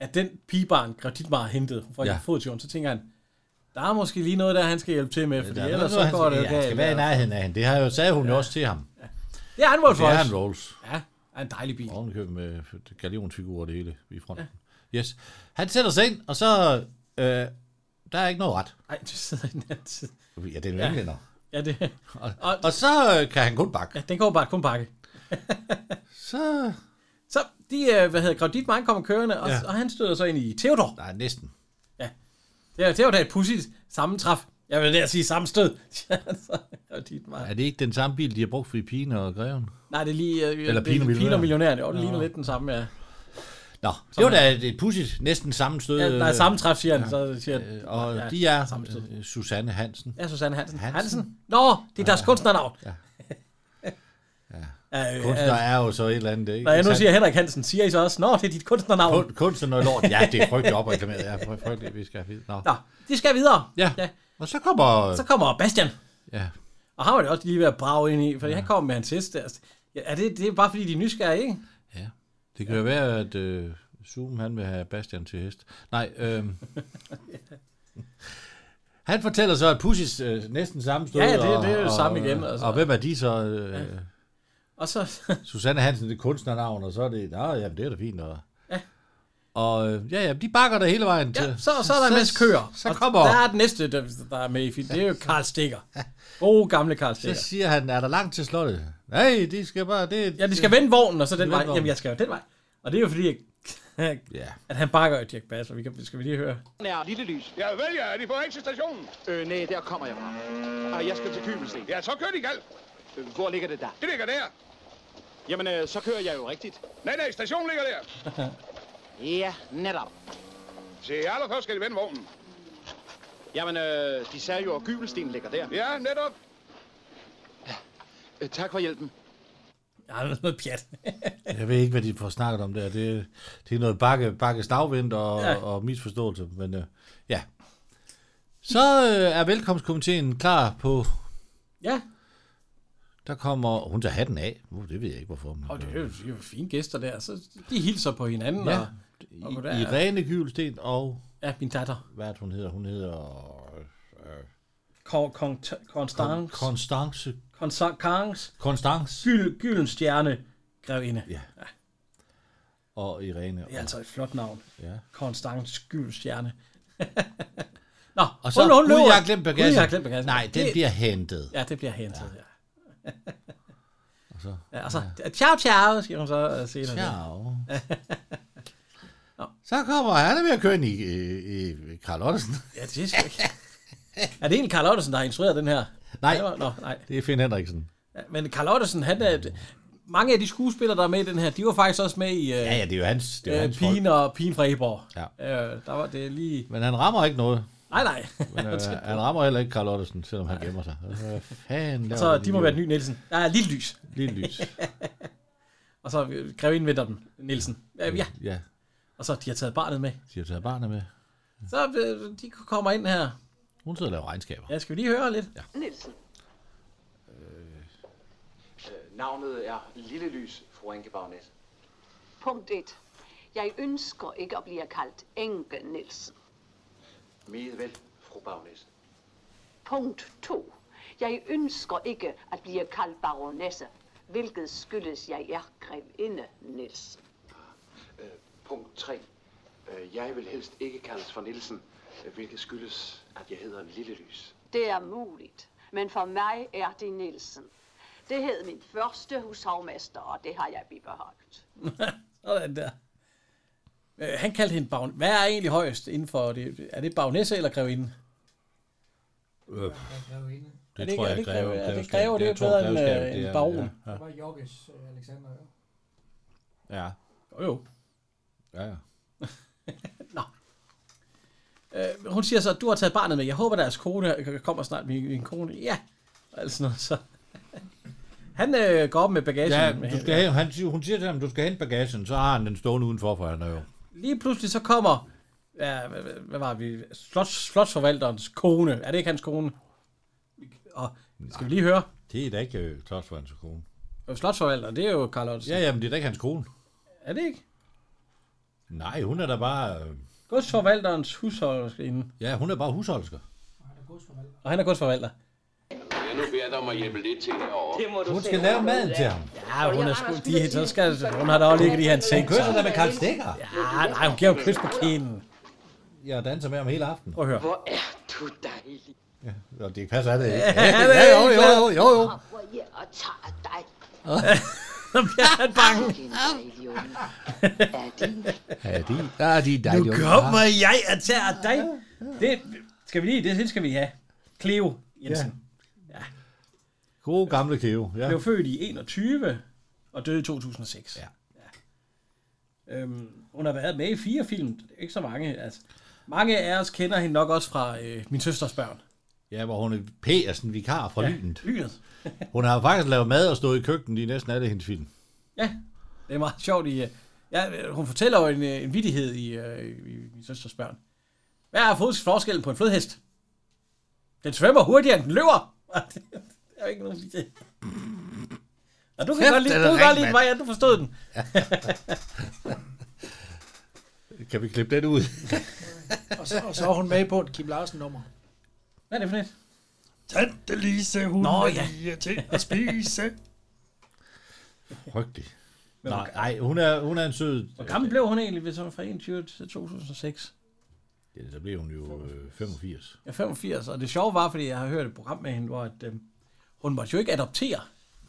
S1: at den pigebarn, Gravitmar hentede fra ja.
S2: Ja.
S1: fodturen, så tænker han, der er måske lige noget, der han skal hjælpe til med, fordi
S2: Der er
S1: ellers
S2: noget,
S1: så
S2: han
S1: går
S2: skal,
S1: det jo
S2: ja, han skal være i
S1: galt. altså."
S2: nærheden af hende. Det har jo, sagde hun jo også til ham.
S1: Det er han målt
S2: Det
S1: for
S2: er en
S1: os.
S2: Rolls.
S1: Ja, er en dejlig bil.
S2: Ovenkøb med galionsfigurer og det hele i fronten. Ja. Yes. Han sætter sig ind, og så... Øh, der er ikke noget ret.
S1: Ej, du sidder i den anden side.
S2: Ja, det er en ja. englænder.
S1: Ja, det,
S2: Og,
S1: og,
S2: og så øh, kan han kun bakke.
S1: ja, den går bare kun pakke.
S2: Så...
S1: Så de, øh, hvad hedder, Gravitmar, han kommer kørende, og,
S2: Ja.
S1: og han støder så ind i Theodor.
S2: Nej, næsten.
S1: Det er, det er jo da et pudsigt sammentræf. Jeg vil der sige sammenstød. Ja, så Gravitmar.
S2: Er det ikke den samme bil, de har brugt for i Pigen og Greven?
S1: Nej, det er lige... Øh,
S2: Eller
S1: det er
S2: Pino
S1: Pino
S2: Millionæren.
S1: Millionæren. Jo, det ligner lidt den samme, ja.
S2: Nå, det var da et- et pudsigt, næsten samme stød.
S1: Ja, der er samme træf, siger han. Øh, Ja. Så siger han,
S2: øh, Og
S1: ja,
S2: de er
S1: samme stød.
S2: øh, Susanne Hansen.
S1: Ja, Susanne Hansen. Hansen.
S2: Hansen.
S1: Hansen? Nå, det er deres kunstnernavn. Ja.
S2: Ja.
S1: ja. Øh,
S2: Kunstner
S1: øh,
S2: er jo så et eller andet, ikke?
S1: når jeg nu
S2: Sandt?
S1: siger Henrik Hansen, siger I så også, Nå, det er dit kunstnernavn.
S2: Kun, kunstner noget lort. Ja, det er frygteligt opreklameret. Ja, fry- frygteligt, vi skal have fid. Nå.
S1: Nå, de skal videre.
S2: Ja.
S1: ja.
S2: Og så kommer...
S1: Så kommer Bastian.
S2: Ja,
S1: Og ham er det også lige ved at brage ind i, fordi ja. han kommer med hans hest. Altså, ja, er det, det er bare fordi, de er nysgerrige, ikke?
S2: ja. Det kan jo være, at øh, Zoom han vil have Bastian til hest. Nej, øh, Han fortæller så, at Pussis øh, næsten samme stød.
S1: Ja, det-
S2: og-
S1: det er jo
S2: og,
S1: samme igen,
S2: Og,
S1: altså.
S2: og hvem er de så? Øh,
S1: Og så,
S2: Susanne Hansen, det er kunstnernavn, og så er det, nej, jamen, det er da fint. Og, ja. Og øh, ja, ja, de bakker der hele vejen til.
S1: ja, så, så er der en masse køer.
S2: Så,
S1: Og
S2: kommer,
S1: Der er den næste, der, der er med i filmen. Det er jo Karl Stikker. Oh, gamle Karl
S2: så
S1: Stikker.
S2: siger han, er der langt til slottet? Nej, de skal bare, det...
S1: Ja, de skal vende vognen, og så den
S2: vende
S1: vej.
S2: vognen.
S1: Jamen, jeg skal jo den vej. Og det er jo fordi, at-
S2: Ja.
S1: at han bakker jo Dirk Bass, og vi kan, skal vi lige høre.
S4: Nær, lille lys.
S10: Ja, vel ja, er de på vej til stationen?
S4: Øh, nej, der kommer jeg fra. Og jeg skal til Købelsten.
S10: Ja, så kører de galt.
S4: Øh, Hvor ligger det der?
S10: Det ligger der.
S4: Jamen, øh, så kører jeg jo rigtigt.
S10: Nej, nej, stationen ligger der.
S4: Ja, netop.
S10: Se, allerførst skal de vende vognen.
S4: Jamen, øh, de sagde jo, at Gyvelsten ligger der.
S10: Ja, netop.
S4: Øh, tak for hjælpen.
S1: Ja, det er sådan noget pjat.
S2: Jeg ved ikke, hvad de får snakket om der. Det, det er noget bakke, bakke stavvind og,
S1: Ja.
S2: ja. og misforståelse, men øh, ja. Så øh, er velkomstkomiteen klar på...
S1: ja,
S2: Der kommer... Hun tager hatten af. Uh, det ved jeg ikke, hvorfor. Men,
S1: og det er jo, det er jo fine gæster der. Så de hilser på hinanden.
S2: Ja.
S1: Ja. Og, og
S2: I,
S1: goddag.
S2: Irene Gyvelsten og...
S1: ja, min datter.
S2: Hvad er det, hun hedder? Hun hedder... Øh,
S1: Kong, kong, Konstans.
S2: Konstance.
S1: Konstans.
S2: Konstance.
S1: Gyld, gylden stjerne. Grevinde.
S2: Ja. Og Irene.
S1: Det er altså et flot navn.
S2: Ja.
S1: Konstans Gyld stjerne. Nå,
S2: Og så, hun, hun
S1: løber.
S2: jeg har glemt bagagen.
S1: Gud, jeg har glemt bagagen.
S2: Nej, den
S1: Det-
S2: bliver hentet.
S1: Ja, det bliver hentet, ja.
S2: Og så,
S1: ja og så, ciao, ciao, siger hun så øh, senere.
S2: Altså, Ciao. Så kommer han er ved at køre ind i, i, i Karl Ottesen.
S1: Ja, det er sgu ikke. er det egentlig Carl Ottesen, der har instrueret den her?
S2: Nej.
S1: Det var- Nå, nej.
S2: Det er Finn Henriksen.
S1: Ja, Men Carl Ottesen, han er... Mange af de skuespillere, der er med i den her, de var faktisk også med i øh,
S2: Ja, ja, det er jo hans, det er jo
S1: øh,
S2: hans folk.
S1: Pigen og Pigen fra Eborg.
S2: Ja.
S1: Øh, der var det lige...
S2: Men han rammer ikke noget.
S1: Nej, nej.
S2: Men, øh, han rammer heller ikke Karl Ottesen, selvom han gemmer sig. Øh, fan,
S1: Og så Altså, de må være den nye Nielsen. Der er lille lys.
S2: Lille lys.
S1: Og så øh, grevinden venter dem, Nielsen. Ja, ja.
S2: Ja,
S1: Og så de har taget barnet med.
S2: de har taget barnet med.
S1: Så øh, de kommer ind her.
S2: Hun sidder og laver regnskaber.
S1: Ja, skal vi lige høre lidt?
S6: Nielsen.
S4: Øh, Navnet er Lille Lys, fru Inge Bagnet.
S6: Punkt 1. Jeg ønsker ikke at blive kaldt Enke Nielsen.
S4: Meget vel, fru Bagnet.
S6: Punkt 2. Jeg ønsker ikke at blive kaldt baronesse, hvilket skyldes, jeg er grevinde Nielsen.
S4: Punkt 3. Jeg vil helst ikke kaldes for Nielsen, øh, hvilket skyldes, at jeg hedder Lille Lys.
S6: Det er muligt, men for mig er det Nielsen. Det hed min første hushavmester, og det har jeg bibeholdt.
S1: Sådan der. Øh, han kaldte hende baron. Hvad er egentlig højst inden for det? Er det bagnesse eller grevinde?
S2: Øh,
S1: Er det ikke- er det ikke greve- er det
S2: greveskab.
S1: greve, det er
S2: Jeg tror,
S1: bedre end,
S2: greveskab,
S1: øh,
S2: det
S1: end
S2: er-
S1: baron.
S2: ja,
S11: Det var Jokkes øh, Alexander. jo.
S2: Ja,
S1: Jo, jo.
S2: ja, ja.
S1: Øh, hun siger så, at du har taget barnet med. Jeg håber, deres kone kommer snart. Min, min kone, ja. Og alt sådan noget, så. Han øh, går op med bagagen.
S2: Ja,
S1: med
S2: du skal, hen- han, siger- hun siger til ham, du skal hente bagagen, så har han den stående udenfor, for han er jo...
S1: Lige pludselig så kommer, ja, hvad, hvad- hvad var vi? Slot, slotsforvalterens kone. Er det ikke hans kone? Og, skal vi lige høre?
S2: Det er da ikke øh, klart for hans kone.
S1: Øh, Slotsforvalteren, det er jo Carl Ottesen.
S2: Ja, ja, men det er da ikke hans kone.
S1: Er det ikke?
S2: Nej, hun er da bare... Øh,
S1: Godsforvalterens husholderinde.
S2: ja, hun er bare husholdersker.
S1: Og han er godsforvalter.
S12: Jeg nu beder dig om at hjælpe lidt til herovre.
S13: Det må du
S2: Hun skal lave maden til ham.
S1: Ja, hun er sgu... De, så skal, hun har da også ligget i hans seng.
S2: Hun kysser da med Karl Stikker.
S1: Ja, Ah, nej, hun giver jo kys på kinden.
S2: Jeg danser med ham hele aften.
S1: Prøv at høre.
S13: Hvor er du dejlig.
S2: Nå, det passer han da ikke.
S1: Ja, det er
S2: jo,
S1: ikke
S2: jo, jo, jo, jo.
S13: Hvor jeg og tager dig.
S1: Så bliver han bange.
S13: Din dejlige unge. Er din
S2: Ja, de, der er de
S1: Nu
S2: dejlige.
S1: kommer jeg og tager dig. Det skal vi lige, det skal vi have. Cleo Jensen.
S2: Gode gamle Cleo. Ja.
S1: Blev født i 21 og døde i 2006.
S2: Ja.
S1: ja. Øhm, hun har været med i fire film. Det er Ikke så mange. Altså, mange af os kender hende nok også fra øh, Min Søsters Børn.
S2: ja, hvor hun er Petersen, vikar fra ja. Lynet.
S1: Lynet.
S2: Hun har faktisk lavet mad og stået i køkkenet i næsten alle hendes film.
S1: Ja, det er meget sjovt. I, øh, ja, hun fortæller jo en, øh, en vidighed i, øh, i min søsters børn. Hvad er fods- forskellen på en flodhest? Den svømmer hurtigere, end den løber. det er jo ikke nogen vidighed. Nå, du kan
S2: Kæft,
S1: godt lide,
S2: den
S1: du
S2: er
S1: kan godt
S2: ring,
S1: lide
S2: mand.
S1: mig, ja, du forstod den.
S2: Kan vi klippe den ud?
S11: Og, så, og så er hun med på et Kim Larsen-nummer.
S1: Hvad er det for net?
S14: Tante Lise, hun
S1: Nå,
S14: Nå,
S1: ja.
S14: ja. er lige til at spise.
S2: Frygtelig. Nej, nej, hun er, hun er en sød...
S1: Hvor gammel blev hun egentlig, hvis hun var fra 21 til 2006?
S2: Ja, så blev hun jo øh, 85.
S1: Jeg er 85, og det sjove var, fordi jeg har hørt et program med hende, hvor at, øh, hun måtte jo ikke adoptere.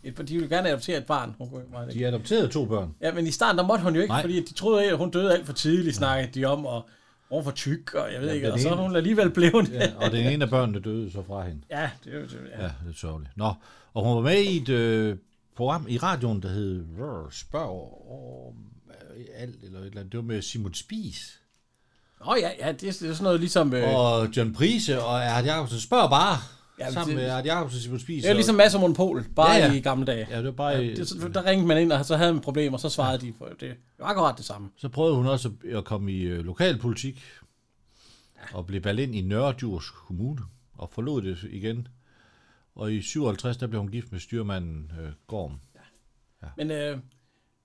S1: Et, de ville gerne adoptere et barn. Hun kunne ikke meget
S2: De adopterede to børn.
S1: Ja, men i starten, der måtte hun jo ikke, Nej.
S2: Nej.
S1: fordi de troede, at hun døde alt for tidligt, snakkede de om, og hun var for tyk, og jeg ved
S2: Jamen,
S1: ikke,
S2: den
S1: og så er
S2: ene-
S1: hun alligevel blevet.
S2: Ja, og den ene af børnene døde så fra hende.
S1: ja, det er jo det. Ja.
S2: Ja, det er sørgeligt. Nå, og hun var med i et øh, program i radioen, der hed Rrr, Spørg om øh, alt eller et eller andet. Det var med Simon Spies
S1: Åh ja, ja det, er, det er sådan noget ligesom... Øh,
S2: og John Prise og Erhard Jacobsen. Spørg bare.
S1: Ja,
S2: sammen
S1: det-
S2: med Art Jacobsen og Simon Spies.
S1: Det er jo
S2: og-
S1: ligesom masser af monopol, bare
S2: Ja, ja.
S1: i gamle dage.
S2: Ja, det var bare i-
S1: det, så- der ringede man ind, og så havde man problemer, og så svarede de på det. Det var akkurat det samme.
S2: Så prøvede hun også at- at komme i øh, lokalpolitik, og blev valgt ind i Nørredjurs Kommune, og forlod det igen. Og i 57, der blev hun gift med styrmanden øh, Gorm.
S1: Men, øh,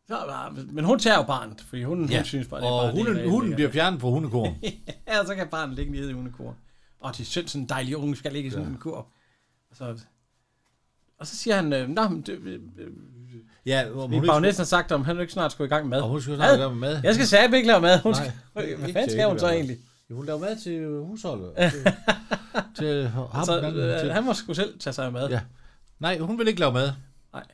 S1: så, var- men hun tager jo barnet, fordi hun, hun synes bare, det er
S2: og
S1: bare
S2: hunden, hunden bliver fjernet fra hundekorn.
S1: ja, så kan barnet ligge nede i hundekur. Og det er synd, sådan en dejlig unge skal ligge i sådan
S2: Ja.
S1: en kur. Og så, og så siger han, øh, Nå, men det, øh, øh,
S2: Ja, hvor
S1: Min bagnæsten har sagt, om han ikke snart skulle i gang med mad. Og hun
S2: skulle snart i gang med mad.
S1: Jeg skal sætte ikke lave mad. Hun
S2: Nej,
S1: skal,
S2: ikke
S1: hvad
S2: til
S1: fanden skal hun så
S2: ikke,
S1: egentlig?
S2: Jo, hun laver mad til husholdet. til ham,
S1: så,
S2: han-
S1: øh,
S2: til-
S1: han må sgu selv tage sig af mad.
S2: Ja. Nej, hun vil ikke lave mad.
S1: Nej.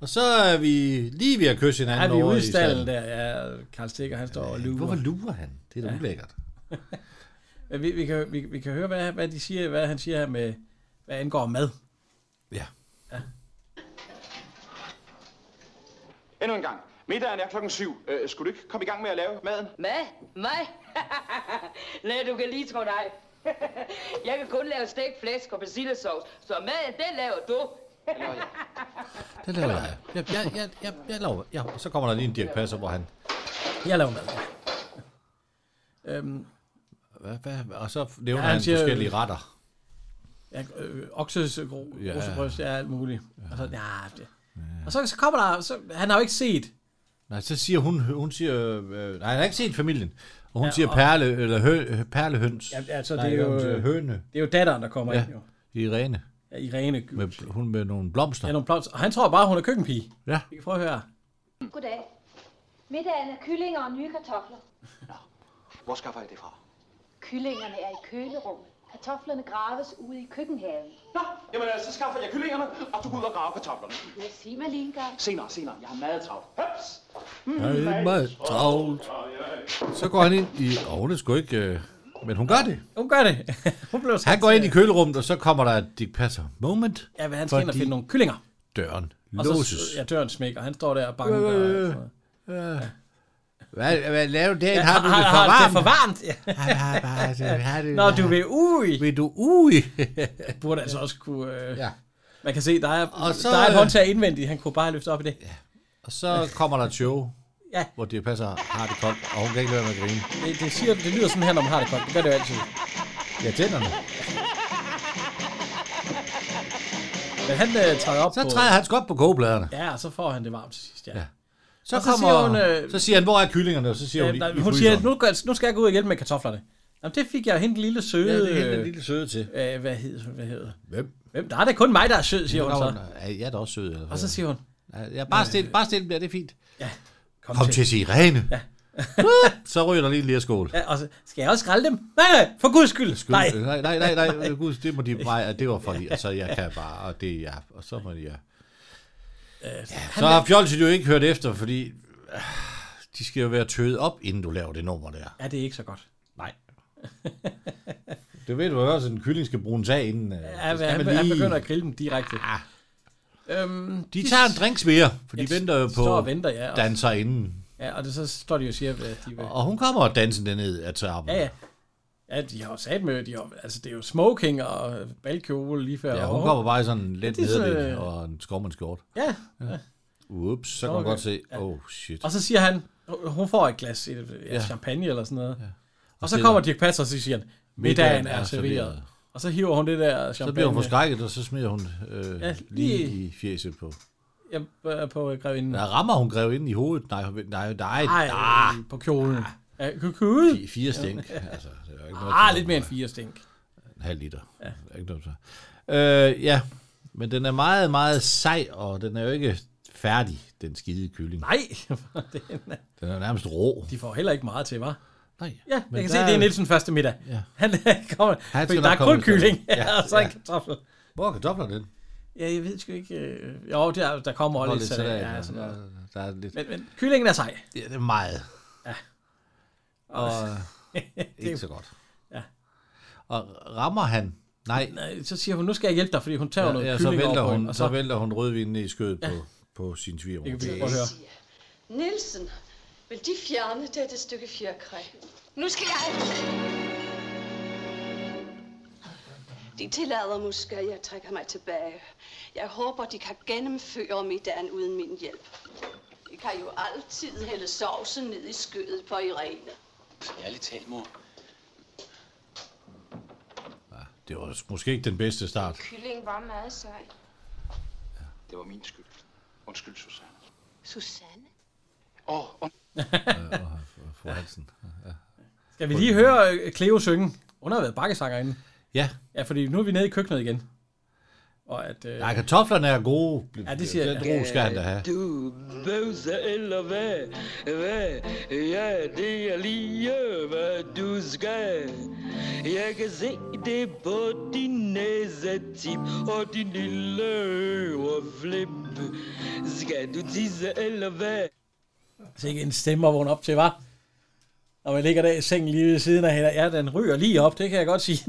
S2: Og så er vi lige ved at kysse
S1: Er
S2: hinanden
S1: vi
S2: over
S1: ude i
S2: i
S1: stallen
S2: stallen.
S1: der? Ja, Karl Stikker, han står og lurer.
S2: Hvorfor lurer han? Det er da
S1: Ja.
S2: ulækkert.
S1: Men Vi, vi, kan, vi, vi kan høre, hvad, hvad, de siger, hvad han siger her med, hvad angår mad.
S7: Endnu en gang. Middagen er klokken syv. Øh, skulle du ikke komme i gang med at lave maden?
S13: Hvad? Mig? Nej, du kan lige tro dig. jeg kan kun lave stegt flæsk og persillesovs, så maden, den laver du.
S2: Det laver jeg. Jeg, jeg, jeg, jeg, jeg laver ja. og Så kommer der lige en Dirk Passer, hvor han...
S1: Jeg laver mad. Øhm,
S2: Hvad, hvad? Og så nævner
S1: Ja,
S2: ja,
S1: han
S2: han,
S1: siger-
S2: forskellige retter.
S1: Ja, øh, okses,
S2: Ja.
S1: ja. oksebryst, ja, alt muligt. Og så, ja, det. Og så, så kommer der, så, han har jo ikke set.
S2: Nej, så siger hun, hun siger, øh, nej, han har ikke set familien. Og hun
S1: Ja,
S2: ja, siger
S1: og-
S2: perle, eller hø, perlehøns.
S1: Ja, altså,
S2: nej,
S1: det er jo-
S2: hun siger høne.
S1: Det er jo datteren, der kommer ja.
S2: Ja,
S1: ind, jo.
S2: Irene.
S1: Ja, Irene. Gy-
S2: Med, hun med nogle blomster.
S1: Ja, nogle plots. Og han tror bare, hun er køkkenpige.
S2: Ja.
S1: Vi kan prøve at høre.
S15: Goddag. Middagen er kyllinger og nye kartofler.
S7: Hvor skaffer I det fra?
S15: Kyllingerne er i kølerummet. Kartoflerne graves ude i køkkenhaven.
S7: Nå, jamen øh, så skaffer jeg kyllingerne, og du går ud og graver kartoflerne.
S15: Ja, sig mig lige en gang.
S7: Senere, senere. Jeg har meget travlt. Høps!
S2: Jeg er meget travlt. Så går han ind i... Og hun er sgu ikke... Øh, men hun gør det.
S1: Hun gør det. hun blev
S2: Han går ind i kølerummet, og så kommer der et Dirk Passer moment.
S1: Ja, hvad han skal ind og
S2: fordi
S1: finde nogle kyllinger.
S2: Døren
S1: Og så,
S2: låses.
S1: ja, døren smækker. Han står der og banker.
S2: Øh,
S1: Øh,
S2: øh, øh.
S1: øh,
S2: Ja. Hvad, hvad laver du derinde?
S1: Ja,
S2: Har du
S1: har-
S2: det for
S1: har du det
S2: varmt?
S1: for varmt? Ja.
S2: Har- har- har- har du-
S1: Nå, du vil ui.
S2: Vil du ui?
S1: Burde altså også kunne... Øh,
S2: Ja.
S1: Man kan se, der er,
S2: Og så-
S1: så, der er et håndtag indvendigt. Han kunne bare løfte op i det.
S2: Og så kommer der et show,
S1: Ja.
S2: hvor Dirk Passer har det koldt, og hun kan ikke lade være med at grine.
S1: Det, det, siger, det lyder sådan her, når man har det godt. Det gør det jo altid.
S2: Ja, tænderne.
S1: Men han øh, træder op
S2: Så
S1: på...
S2: træder han sgu op på kogebladerne.
S1: Ja, og så får han det varmt til sidst, ja.
S2: Ja.
S1: ja.
S2: Så,
S1: Og så
S2: kommer,
S1: siger hun,
S2: så,
S1: øh,
S2: så siger han, hvor er kyllingerne? Og så siger hun,
S1: nej,
S2: "I
S1: hun
S2: fryseren."
S1: siger, nu, gør, nu skal jeg gå ud og hjælpe med kartoflerne. Jamen, det fik jeg jo hende den lille søde...
S2: Ja, det er hende den
S1: øh,
S2: lille søde til.
S1: Øh, hvad hedder hun? Hvad hedder?
S2: Hvem?
S1: Hvem? Der er da kun mig, der er sød, siger hun
S2: Nå,
S1: så.
S2: er Jeg er da også sød. Eller
S1: Og så siger hun...
S2: hun... Ja, bare stille, bare stille, ja, det er fint.
S1: Ja,
S2: Kom, Kom til Sirene.
S1: Ja.
S2: så ryger der lige en lirskål.
S1: Ja, og så, skal jeg også skralde dem? Nej, nej, for guds skyld.
S2: Skyld. Nej. nej, nej, nej, nej, gud, det må de nej, det var for lige, og så jeg kan bare, og det er jeg, og så må de, ja. Øh, Så har Fjolsen jo ikke hørt efter, fordi øh, de skal jo være tøet op, inden du laver det nummer der.
S1: Ja, det er ikke så godt. Nej.
S2: Det ved du jo også, at en kylling skal brunes af, inden øh,
S1: Ja,
S2: det
S1: men
S2: skal
S1: han,
S2: man
S1: han
S2: lige- Ah.
S1: begynder at grille dem direkte. Ja. Øhm,
S2: De tager en drinks mere, for de
S1: Ja, de
S2: venter jo på
S1: står og venter, ja, og-
S2: danser inden.
S1: Ja, og det, så står de jo og siger, at de vil...
S2: Og hun kommer og danser altså, derned af trappen.
S1: Ja, ja. Ja, de har jo sat med, de har, altså det er jo smoking og balkjole lige før.
S2: Ja, hun
S1: Og-
S2: kommer bare i sådan en let
S1: Ja, det er sådan,
S2: nederlæg
S1: øh,
S2: og en skovmandskort.
S1: Ja, ja.
S2: Ups, så kan man
S1: Okay.
S2: godt se, oh shit.
S1: Og så siger han, hun får et glas et, et
S2: Ja.
S1: ja. champagne eller sådan noget. Ja. Og så
S2: stiller-
S1: kommer Dirk Passer, og så siger han, middagen er serveret. Og så hiver hun det der champagne.
S2: Så bliver hun forskrækket, og så smider hun øh,
S1: øh, Ja,
S2: ja, lige...
S1: lige-
S2: i fjeset på.
S1: Ja, på- på grevinden.
S2: Der rammer hun grev ind i hovedet. Nej, hun- nej, nej.
S1: Ej, øh,
S2: Ah,
S1: på kjolen. Ja, kukude.
S2: Fi- fire stænk. Altså, det er jo ikke noget
S1: ah,
S2: til-
S1: lidt mere end fire stænk.
S2: en halv liter. Ja. Ikke noget, så. Øh, ja, men den er meget, meget sej, og den er jo ikke færdig, den skide kylling.
S1: Nej, den er-
S2: Den er nærmest rå.
S1: de får heller ikke meget til, var.
S2: Nej.
S1: Ja, jeg
S2: men
S1: kan
S2: der
S1: se, det
S2: er-
S1: er Nielsen første middag.
S2: Ja.
S1: Han øh, kommer,
S2: Han
S1: han
S2: skal
S1: der er
S2: nok komme
S1: kun
S2: med sådan.
S1: kylling,
S2: Ja,
S1: ja, og så en
S2: ja.
S1: kartoffel.
S2: Hvor er kartoflerne den?
S1: Ja, jeg ved sgu ikke. øh, Jo, der, der kommer også
S2: Nå,
S1: lidt
S2: lidt
S1: salat.
S2: salat,
S1: Ja,
S2: ja.
S1: sådan noget.
S2: Der er lidt...
S1: Men, men kyllingen er sej.
S2: Ja, det er meget.
S1: Ja.
S2: Og ikke så godt. Og rammer han? Nej.
S1: Nej, så siger hun, nu skal jeg hjælpe dig, fordi hun tager ja, noget
S2: ja, så
S1: kylling
S2: vælter
S1: over på
S2: hun,
S1: hende,
S2: så... så
S1: og så,
S2: vælter hun rødvinen i skødet
S1: Ja.
S2: på, på sin svigermor.
S1: Det kan vi prøve at høre.
S9: Nielsen, vil de fjerne dette stykke fjerkræ?
S13: Nu skal jeg...
S9: De tillader måske, at jeg trækker mig tilbage. Jeg håber, de kan gennemføre middagen uden min hjælp. De kan jo altid hælde sovsen ned i skødet på Irene.
S4: Ærligt talt, mor.
S2: Det var måske ikke den bedste start.
S15: Kylling var meget sej.
S4: Det var min skyld. Undskyld, Susanne.
S15: Susanne?
S4: Åh, oh, und...
S2: Fru Hansen. Ja.
S1: Skal vi lige høre øh, Cleo synge? Hun har været bakkesanger inde.
S2: Ja.
S1: Ja, fordi nu er vi nede i køkkenet igen. Og at... Øh,
S2: Nej, kartoflerne er gode.
S1: Ja, det siger
S2: Den
S1: jeg.
S2: ro skal han da have.
S16: Du bøvse eller hvad? Hvad? Ja, det er lige, øh, hvad du skal. Jeg kan se det på din næsetip og din lille øverflip. Skal du tisse eller hvad?
S1: Altså ikke en stemme at vågne op til, var. Og man ligger der i sengen lige ved siden af hende. Ja, den ryger lige op, det kan jeg godt sige.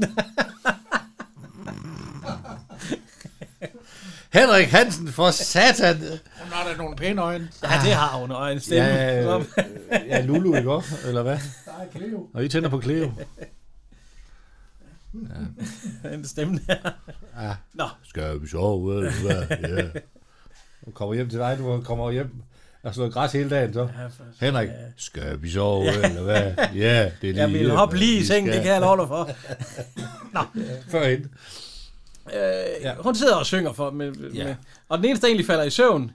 S2: Henrik Hansen, for satan!
S11: Hun har da nogle pæne øjne.
S1: Ja, det har hun, og en stemme.
S2: Ja,
S1: Som-
S2: øh, ja, Lulu, ikke også? Eller hvad?
S11: Nej, Cleo.
S2: Og I tænder på Cleo.
S1: en stemme der.
S2: Ja.
S1: Nå.
S2: Skal vi sove? Eller hvad? Ja. Hun kommer hjem til dig, du kommer hjem og slår græs hele dagen, så. Henrik, skal vi sove?
S1: Ja.
S2: Eller hvad? Ja, det er lige...
S1: Jeg vil hoppe lige i
S2: Vi
S1: sengen, det
S2: skal.
S1: kan jeg love dig for. Nå.
S2: Førhen.
S1: Øh, ja. Hun sidder og synger for med, med,
S2: Ja.
S1: ja. og den eneste, der egentlig falder i søvn,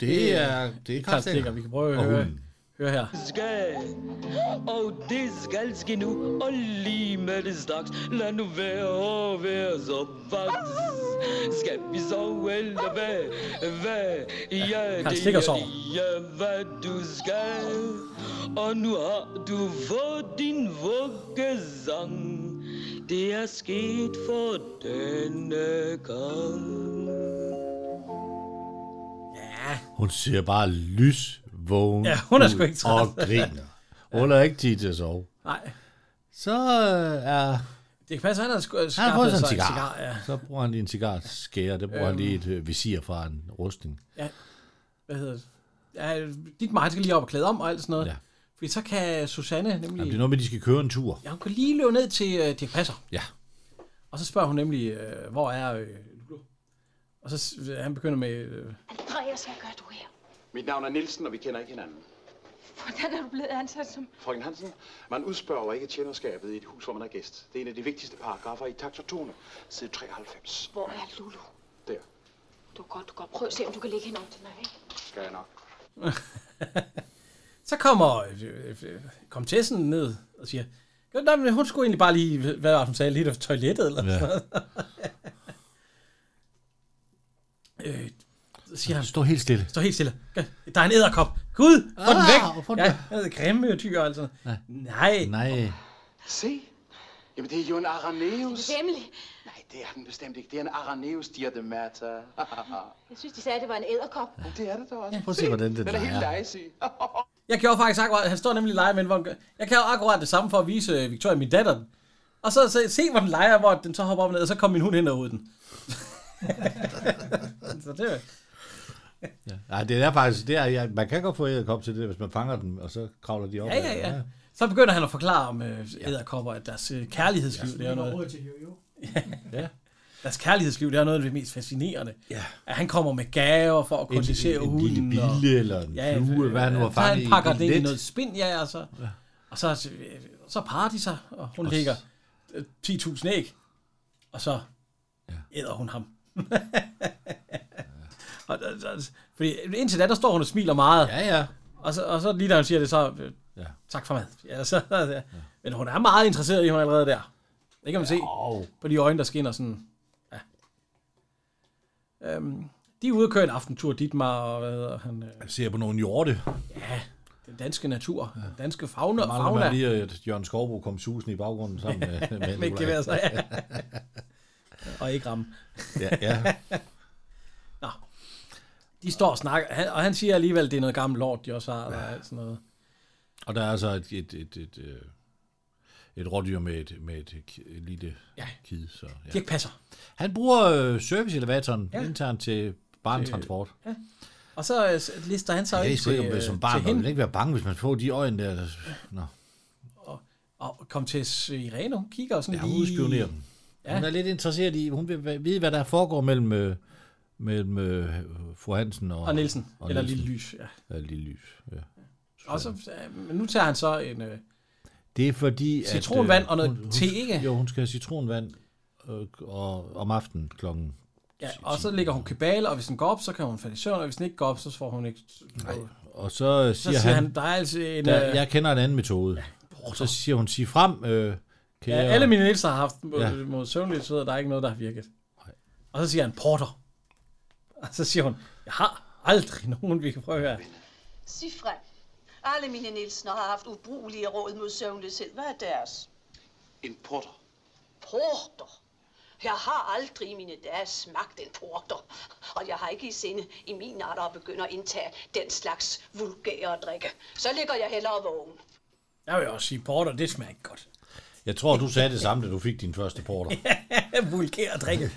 S2: Det er- det er Carl
S1: Carl Stikker.
S2: Stikker.
S1: Vi kan prøve at
S2: Og
S1: høre,
S2: hunden.
S1: høre her.
S16: skal. Og det skal ske nu, og lige med det straks. Lad nu være at være så vaks. Skal vi sove eller hvad? Hvad? Ja,
S1: Carl
S16: det
S1: Stikker
S16: er
S1: sover.
S16: lige, hvad du skal. Og nu har du fået din vuggesang. Det er sket for denne gang.
S2: Hun ser bare lys vågen
S1: Ja, hun er sgu
S2: ud
S1: ikke træt.
S2: Og griner. Hun har ikke tid til at sove.
S1: Nej.
S2: Så
S1: øh,
S2: er...
S1: Det kan passe, at han har sku-
S2: Han har fået
S1: skaffet
S2: sig
S1: sig
S2: en cigar. cigar
S1: ja.
S2: Så bruger han lige en cigarskære. Der bruger han lige et øh, visir fra en rustning.
S1: Hvad hedder det? Ja, dit mig skal lige op og klæde om og alt sådan noget.
S2: Ja.
S1: Ja. Fordi så kan Susanne nemlig...
S2: Jamen, det er noget med, at de skal køre en tur.
S1: Ja, hun kan lige løbe ned til øh, Dirk Passer.
S2: Ja.
S1: Og så spørger hun nemlig, øh, hvor er øh, Lulu? Og så s- han begynder med... Øh,
S15: Andreas, hvad gør du her?
S4: Mit navn er Nielsen, og vi kender ikke hinanden.
S15: Hvordan er du blevet ansat som...
S4: Frøken Hansen, man udspørger ikke tjenerskabet i et hus, hvor man er gæst. Det er en af de vigtigste paragrafer i takt og tone, side 93.
S15: Hvor er Lulu?
S4: Der.
S15: Du er godt, du er godt. Prøv at se, om du kan lægge hende om til mig, ikke?
S4: Skal jeg nok.
S1: så kommer øh, øh, komtessen ned og siger... "Jo, Nej, men hun skulle egentlig bare lige... Hvad var det, hun sagde? Lige til toilettet eller
S2: Ja.
S1: sådan noget. øh, så siger han...
S2: Stå helt stille.
S1: Stå helt stille. Der er en æderkop. Gud, få den
S2: Ah,
S1: væk.
S2: få den
S1: ja, det er grimme dyr, altså. Nej.
S2: Nej.
S4: Se. Jamen, det er jo en Araneus.
S15: Nemlig.
S4: Nej, det er den bestemt ikke. Det er en Araneus diademata.
S15: Jeg synes, de sagde, at det var en æderkop.
S4: Ja, det er det da også.
S2: Prøv at se, hvordan den
S4: Den er
S2: leger.
S4: helt lejsig.
S1: Jeg gjorde faktisk akkurat, han står nemlig og leger med en vogn. Jeg kan jo akkurat det samme for at vise øh, Victoria, min datter. den. Og så se, se hvor den leger, hvor den så hopper op og ned, og så kom min hund hen over den. så det er-
S2: Nej, det er faktisk... Det er, ja, man kan godt få æderkop til det, hvis man fanger dem, og så kravler de op.
S1: ja, ja, ja. Så begynder han at forklare om øh, æderkopper, at deres øh, kærlighedsliv, det er noget.
S11: til jo.
S1: ja. Deres kærlighedsliv, det er noget af det mest fascinerende.
S2: Ja.
S1: At han kommer med gaver for at
S2: En,
S1: kondensere
S2: en, en lille
S1: hunden. og-
S2: bille eller en
S1: Ja, øh,
S2: flue, hvad han nu har
S1: så
S2: fanget
S1: han pakker det
S2: i
S1: ind i
S2: en
S1: noget
S2: net.
S1: spind, ja, og så, ja. og så, øh, så parer de sig, og hun og lægger øh, 10.000 æg, og så æder hun ham. og, og, og, fordi indtil da, der står hun og smiler meget.
S2: Ja, ja.
S1: Og så, og så lige da hun siger det, så øh,
S2: Ja.
S1: tak for mad. Ja, så, ja. Men hun er meget interesseret i hun allerede der. Det kan man se på de øjne, der skinner sådan. Ja. Øhm, de er ude og køre en aftentur, Dietmar og hvad hedder han? Øh,
S2: Jeg ser på nogle hjorte.
S1: Ja, den danske natur, ja. den danske fauna.
S2: Der mangler
S1: fauna.
S2: man lige, at Jørgen Skovbro kom susen i baggrunden sammen med, med,
S1: med
S2: Nikolaj.
S1: gevær, så, ja. og ikke ramme.
S2: Ja, ja.
S1: Nå. De står og snakker, han, og han siger alligevel, at det er noget gammelt lort, de også har, eller alt sådan noget.
S2: Og der er altså et, et, et, et, øh, et rådyr med et, med et, k- et lille ja. kid. Så, ja.
S1: Dirk Passer.
S2: Han bruger øh, serviceelevatoren
S1: Ja.
S2: ja. internt til barntransport.
S1: Ja. Og så øh, lister han sig
S2: Jeg
S1: ind
S2: er sgu ikke, om det er
S1: øh,
S2: som barn,
S1: til
S2: man vil
S1: hende,
S2: ikke være bange, hvis man får de øjne der. der- Nå,
S1: og kom til Irene, hun kigger og sådan
S2: jeg
S1: lige...
S2: udspionerer dem. Ja. Hun er lidt interesseret i, hun vil vide, hvad der foregår mellem, øh, mellem øh, fru Hansen og...
S1: Og Nielsen. Eller Lille Lys, ja.
S2: Eller Lille Lys, ja.
S1: Og så, øh, men nu tager han så en øh,
S2: Det er fordi, øh,
S1: citronvand og noget
S2: hun, hun,
S1: te, ikke?
S2: Jo, hun skal have citronvand øh, og, om aftenen klokken.
S1: Ja, og så ligger hun kabale, og hvis den går op, så kan hun falde i søvn, og hvis den ikke går op, så får hun ikke... Nej.
S2: Og så øh, siger,
S1: Så siger
S2: han,
S1: han, der er altså en,
S2: Der,
S1: øh,
S2: jeg kender en anden metode. Ja, så siger hun, sig frem. Øh,
S1: Ja, alle mine nitser har haft mod,
S2: Ja.
S1: ja. mod søvnløshed, og der er ikke noget, der har virket. Og så siger han, porter. Og så siger hun, jeg har aldrig nogen, vi kan prøve her.
S9: Sig frem. Alle mine Nielsener har haft ubrugelige råd mod søvnløshed. Hvad er deres?
S4: En porter.
S9: Porter. Jeg har aldrig i mine dage smagt en porter. Og jeg har ikke i sinde i min alder at begynde at indtage den slags vulgære drikke. Så ligger jeg hellere vågen.
S1: Jeg vil også sige, porter, det smager ikke godt.
S2: Jeg tror, du sagde det samme, da du fik din første porter.
S1: Vulgær drikke.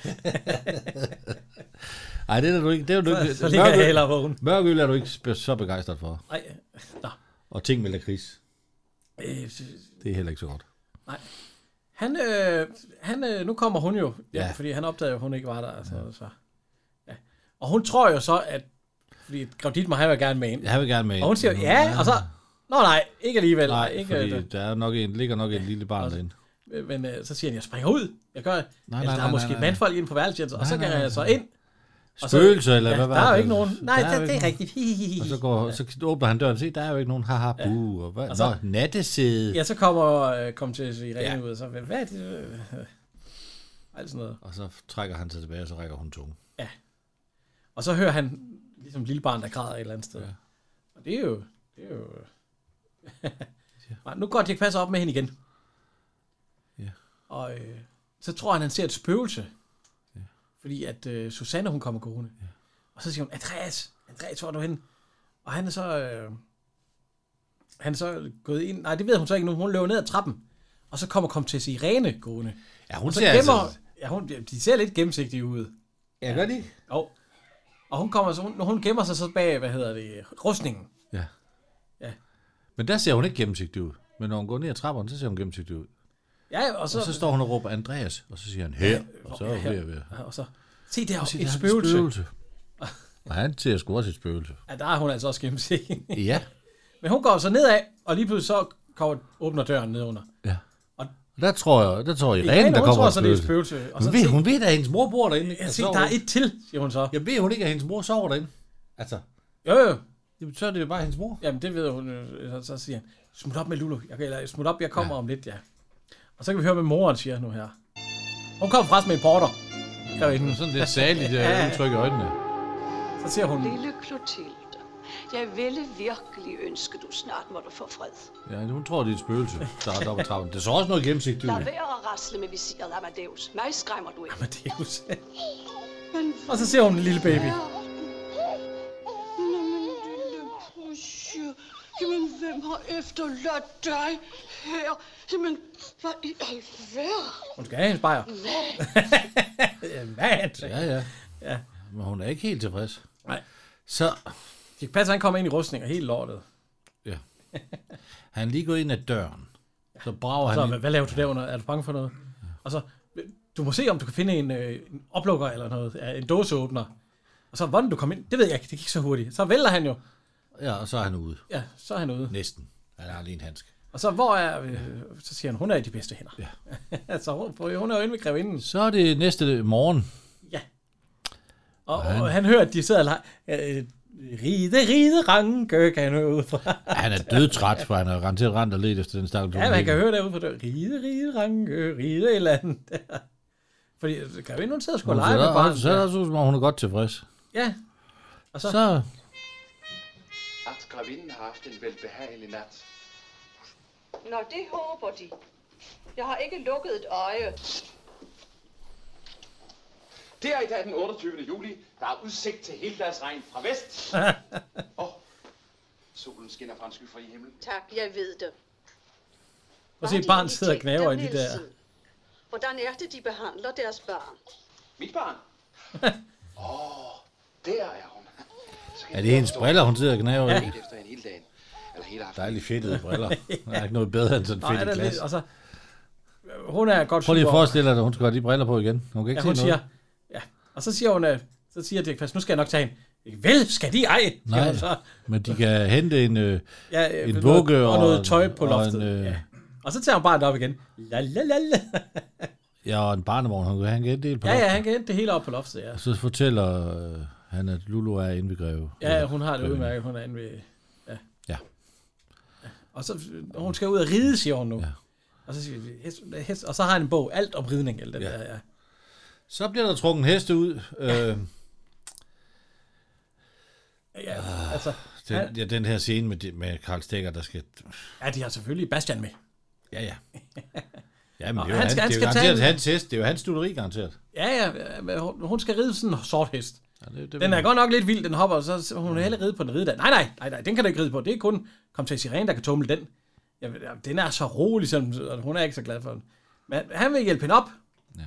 S2: Nej, det er du ikke. Det er du
S1: Så-
S2: ikke.
S1: så ligger jeg
S2: mørkøl-
S1: hellere vågen.
S2: Mørkøl er du ikke spe- så begejstret for.
S1: Nej, nå.
S2: Og ting med lakrids,
S1: Øh,
S2: det er heller ikke så godt.
S1: nej. Han, øh, han, øh, nu kommer hun jo, ja,
S2: Ja.
S1: ja. fordi han opdagede jo, at hun ikke var der. Altså, ja. Så, ja. Og hun tror jo så, at fordi Grav Dietmar, han vil gerne med ind.
S2: Jeg vil gerne med
S1: Og hun siger,
S2: ind.
S1: ja, og så, nå nej, ikke alligevel.
S2: Nej,
S1: ikke,
S2: fordi
S1: øh,
S2: der er nok en, ligger nok en lille barn derinde.
S1: Øh, Men øh, så siger han, jeg springer ud. Jeg gør, nej,
S2: nej,
S1: nej, altså, der
S2: nej,
S1: er måske
S2: nej,
S1: nej,
S2: nej.
S1: mandfolk inde på værelset, og
S2: Nej,
S1: så kan
S2: nej,
S1: jeg så
S2: nej.
S1: ind. og så-
S2: Spøgelser, eller hvad var
S1: Der er jo
S2: det?
S1: ikke nogen. Nej,
S2: Der er jo
S1: det, det,
S2: ikke
S1: er
S2: nogen.
S1: rigtigt. Hi, hi, hi.
S2: Og så, går, så åbner han døren og siger, der er jo ikke nogen, haha, bu, og hvad?
S1: Og så-
S2: Nå, nattesæde.
S1: Ja, så kommer, øh, kommer til Irene
S2: Ja.
S1: ja. ud, og så, hvad hvad er det? øh, øh, Alt sådan noget.
S2: Og så trækker han sig tilbage, og så rækker hun tunge.
S1: Ja. Og så hører han ligesom et lille barn, der græder et eller andet sted. Ja. Og det er jo... Det er jo... Nej, nu går Dirk Passer op med hende igen.
S2: Ja.
S1: Og øh, så tror han, han ser et spøgelse. Ja. Fordi at øh, Susanne, hun kommer gående. Ja. Og så siger hun, Andreas, Andreas, hvor er du henne? Og han er så... Øh, han er så gået ind... Nej, det ved hun så ikke nu. Hun løber ned ad trappen. Og så kommer Comtesse Irene gående.
S2: Ja, hun
S1: og så
S2: ser
S1: gemmer,
S2: altså-
S1: Ja, hun, de ser lidt gennemsigtige ud.
S2: Ja, gør de?
S1: Jo. Og hun kommer så, hun, hun gemmer sig så bag, hvad hedder det, rustningen.
S2: Ja.
S1: Ja.
S2: Men der ser hun ikke gennemsigtig ud. Men når hun går ned ad trapperne, så ser hun gennemsigtig ud.
S1: Ja,
S2: Og
S1: og
S2: så,
S1: så,
S2: og så står hun og råber Andreas, og så siger han her, og så er hun ved at være.
S1: Og så, se der,
S2: Og se,
S1: et
S2: der er et
S1: spøgelse.
S2: spøgelse. Og han ser sgu også et spøgelse.
S1: Ja, der er hun altså også gennemsigtig.
S2: Ja.
S1: Men hun går så nedad, og lige pludselig så kommer, åbner døren nedunder.
S2: Der tror jeg, der tror jeg,
S1: Irene,
S2: Irene, der
S1: hun
S2: kommer
S1: tror
S2: et
S1: så, det er et
S2: spøgelse.
S1: spøgelse. Og
S2: Hun
S1: så
S2: ved,
S1: se-
S2: hun ved, at hendes mor bor derinde.
S1: Jeg siger, der er et til, siger hun så.
S2: Jeg ved hun ikke, at hendes mor sover derinde. Altså,
S1: Jo, jo.
S2: Jamen, så er det jo bare hendes mor.
S1: Jamen, det ved hun. øh, Så, så siger han, smut op med Lulu. Jeg, kan- eller smut op, jeg kommer ja. om lidt, ja. Og så kan vi høre, hvad moren siger nu her. Hun kom fra med en porter. Ja,
S2: sådan lidt saligt øh, udtryk i øjnene.
S1: Så siger hun,
S9: Lille Clotilde, jeg ville virkelig ønske, du snart måtte få fred.
S2: Ja, hun tror, det er et spøgelse, der er deroppe ad trappen. Det er så også noget gennemsigtigt ud.
S9: Lad være at rasle med visiret, Amadeus. Mig skræmmer du ikke.
S1: Amadeus.
S9: Men
S1: og så ser hun en lille baby.
S9: Jamen, lille Pusje. Jamen, hvem har efterladt dig her? Jamen, hvad i alverden?
S1: Hun skal have en bajer. Mand.
S2: Ja, ja.
S1: ja.
S2: Men hun er ikke helt tilfreds.
S1: Nej.
S2: Så...
S1: Dirk Passer, han kommer ind i rustning og helt lortet.
S2: Ja. Han er lige gået ind ad døren. Så brager
S1: Og
S2: han
S1: så,
S2: ind.
S1: hvad, hvad laver du derunder? Er du bange for noget? Og så, du må se, om du kan finde en, øh, en oplukker eller noget. Ja, En dåseåbner. Og så, hvordan du kom ind, det ved jeg ikke. Det gik så hurtigt. Så vælter han jo.
S2: Ja, og så er han ude.
S1: Ja, så er han ude.
S2: Næsten. Han har lige en handsk.
S1: Og så, hvor er... Øh, så siger han, hun er i de bedste hænder. Ja. så hun, hun er jo inde ved grevinden.
S2: Så er det næste morgen.
S1: Og, og han hører, at de sidder og leger. Øh, ride, ride, ranke, kan han høre ud fra.
S2: Han er dødtræt, for han har rendt til rent og let efter den stakkels
S1: Ja, man kan høre derude på døren. Ride, ride, ranke, ride et eller andet. der. Fordi øh, grevinden, hun sidder sgu og
S2: Hun
S1: leger
S2: ser
S1: med
S2: da- hun
S1: barnet.
S2: ser
S1: der.
S2: da også ud, som om hun er godt tilfreds.
S1: Ja. Og så,
S2: Så
S4: At gravinden har haft en velbehagelig nat.
S9: Nå, det håber de. Jeg har ikke lukket et øje.
S4: Det er i dag den 28. juli. Der er udsigt til hele deres regn fra vest. Og solen skinner fra en skyfri himmel.
S9: Tak, jeg ved det.
S1: og se, barnet sidder og gnaver i de der.
S9: Hvordan er det, de behandler deres barn?
S4: Mit barn? Åh, der er hun. Så kan
S2: er
S4: jeg
S2: det hendes
S4: forstå,
S2: briller, hun sidder og gnaver i.
S4: at jeg efter en hele dagen. Eller hele aftenen.
S2: Dejligt fedtede briller. Der er ikke noget bedre end sådan
S1: Nej,
S2: fedt
S1: der
S2: i
S1: er
S2: glas.
S1: lidt- Og så, hun er godt
S2: Prøv lige at
S1: syv år.
S2: forestille dig, at hun skal have de briller på igen. Hun kan
S1: Ja,
S2: ikke
S1: hun
S2: se
S1: siger,
S2: noget.
S1: ja. Og så siger hun, øh, så siger Dirk Fast, nu skal jeg nok tage hende. Vel, skal de ej? siger
S2: Nej,
S1: hun så.
S2: men de kan hente en, øh,
S1: Ja, øh,
S2: en
S1: noget-
S2: vugge
S1: og noget tøj på
S2: Og en,
S1: loftet.
S2: øh, ja.
S1: Og så tager hun barnet op igen. La, la, la, la.
S2: ja, og en barnevogn. Han kan han kan hente det på
S1: Ja, ja,
S2: loftet.
S1: han kan hente det hele op på loftet, ja.
S2: Og så fortæller øh, han, at Lulu er inde ved Greve.
S1: Ja, hun har det
S2: Greven.
S1: udmærket, hun er inde ved... Ja.
S2: Ja.
S1: Og så, hun skal ud og ride, siger hun nu. Ja. Og, så siger, vi, hest, hest, og så har han en bog, alt om ridning, eller den ja. der, ja.
S2: Så bliver der trukket heste ud. Øh,
S1: Ja, altså, han-
S2: den, ja, den her scene med, det- med Karl Stegger, der skal...
S1: Ja, de har selvfølgelig Bastian med.
S2: Ja, ja. Jamen,
S1: Og
S2: det er jo han, skal, han, det er jo
S1: tage
S2: garanteret
S1: en-
S2: hans hest. Det er jo hans studeri, garanteret.
S1: Ja, ja, men hun hun skal ride sådan en sort hest.
S2: Ja, det, det
S1: Den
S2: ved
S1: er
S2: jeg.
S1: godt nok lidt vild, den hopper, så så hun vil hellere ride på den ridedag. Nej, nej, nej, nej, den kan du ikke ride på. Det er kun kom til Sirene, der kan tumle den. Jamen, jamen, den er så rolig, som, og hun er ikke så glad for den. Men han vil hjælpe hende op. Ja.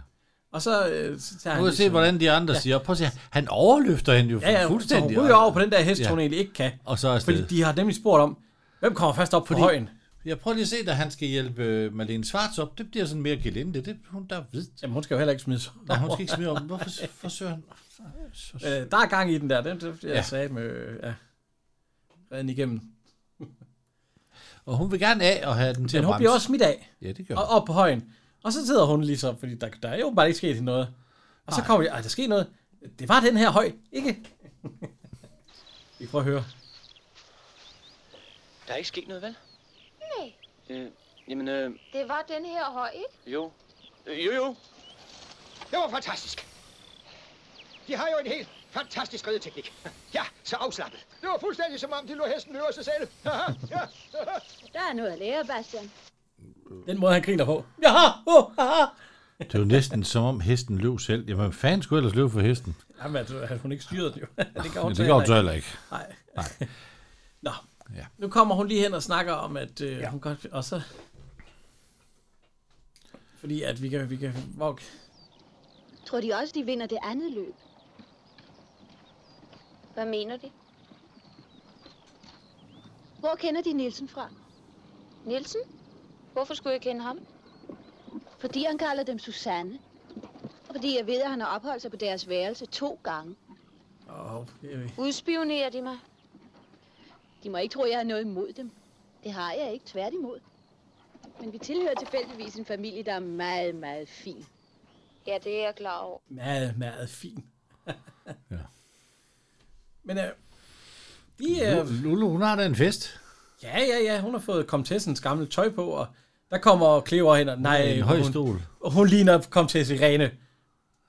S1: Og så, øh, så
S2: Nu kan
S1: tager han...
S2: jeg se, hvordan de andre ja. siger. Prøv at se, han overløfter hende jo
S1: Ja, ja, fuldstændig.
S2: fuldstændig.
S1: Så hun ryger over på den der hest,
S2: Ja.
S1: ja. hun egentlig ikke kan.
S2: Og så er
S1: Fordi
S2: afsted.
S1: de har nemlig spurgt om, hvem kommer først op på
S2: Fordi-
S1: højen?
S2: Jeg prøver lige at se, da han skal hjælpe øh, Malene Svarts op. Det bliver sådan mere gelinde. Det er hun, der ved.
S1: Jamen, hun skal jo heller ikke smide
S2: Nej, hun skal ikke smide op. Hvorfor forsøger han?
S1: Øh, der er gang i den der. Den, det, jeg
S2: Ja.
S1: ja. sagde med... øh, Ja. Redden igennem.
S2: Og hun vil gerne af og have den til
S1: Men
S2: at
S1: hun
S2: bremse.
S1: bliver også smidt af.
S2: Ja, det gør
S1: Og op på højen. Og så sidder hun lige så, fordi der, der er jo bare ikke sket noget. Og så kommer jeg, ej, der sker noget. Det var den her høj, ikke? Vi prøver at høre.
S17: Der er ikke sket noget, vel?
S18: Nej,
S17: Øh, jamen, øh,
S18: det var den her høj, ikke?
S17: jo. Øh, jo, jo.
S7: Det var fantastisk. De har jo en helt fantastisk rideteknik. Ja, så afslappet. Det var fuldstændig som om, de lå hesten øver sig selv. Haha, ja.
S18: Der er noget at lære, Bastian.
S1: Den måde, han griner på. Jaha, oh, haha.
S2: Det er jo næsten som om hesten løb selv. Jamen, hvad fanden skulle ellers løbe for hesten?
S1: Jamen, altså, altså, hun ikke styrede den jo. det
S2: Ja,
S1: hun
S2: det
S1: så
S2: kan hun så heller ikke.
S1: Nej.
S2: Nej.
S1: Nå, ja. nu kommer hun lige hen og snakker om, at øh, ja. hun godt... Og så... Fordi at vi kan... Vi kan hvor,
S18: Tror de også, de vinder det andet løb? Hvad mener de? Hvor kender de Nielsen fra? Nielsen? Hvorfor skulle jeg kende ham? Fordi han kalder dem Susanne. Og fordi jeg ved, at han har opholdt sig på deres værelse to gange.
S1: åh, det er jo-
S18: Udspionerer de mig? De må ikke tro, jeg har noget imod dem. Det har jeg ikke, tværtimod. Men vi tilhører tilfældigvis en familie, der er meget, meget fin. Ja, det er jeg klar over.
S1: meget, meget fin. ja. Men øh, de er... Øh,
S2: Lulu, hun har da en fest.
S1: ja, ja, ja, hun har fået komtessens gamle tøj på, og der kommer Clever hen, og nej,
S2: er en høj stol.
S1: Hun, hun ligner komtesse Irene.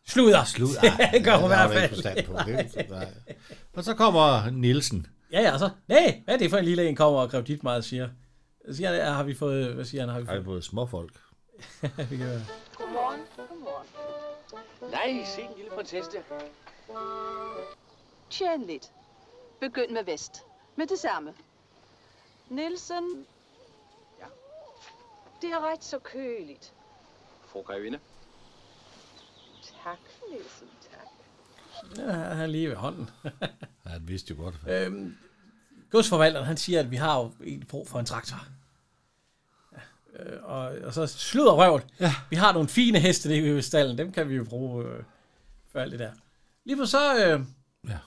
S1: Sluder.
S2: Sludder.
S1: det gør
S2: Ja,
S1: hun i
S2: Ah, det har
S1: hvert
S2: du ikke
S1: fald.
S2: forstand på. Det- nej. Og så kommer Nielsen.
S1: Ja, ja, og så, nej, hvad er det for en lille en, kommer og grev dit meget og siger. Siger han, har vi fået, hvad siger han, har vi
S2: Har vi
S1: fået?
S2: fået småfolk?
S1: vi kan høre.
S17: Godmorgen. Godmorgen. Nej, se en lille prinsesse der.
S6: Tjen lidt. Begynd med vest. Med det samme. Nielsen. Ja. Det er ret så køligt.
S17: Fru Grevinde.
S6: Tak, Nielsen. Tak.
S1: Ja, han er lige ved hånden.
S2: Ja, han vidste jo godt.
S1: Øhm, godsforvalteren, han siger, at vi har jo egentlig brug for en traktor. Ja, øh, og, og så slutter røven. Ja. Vi har nogle fine heste nede ved stallen. Dem kan vi jo bruge øh, for alt det der. Lige på så... Øh,
S2: ja.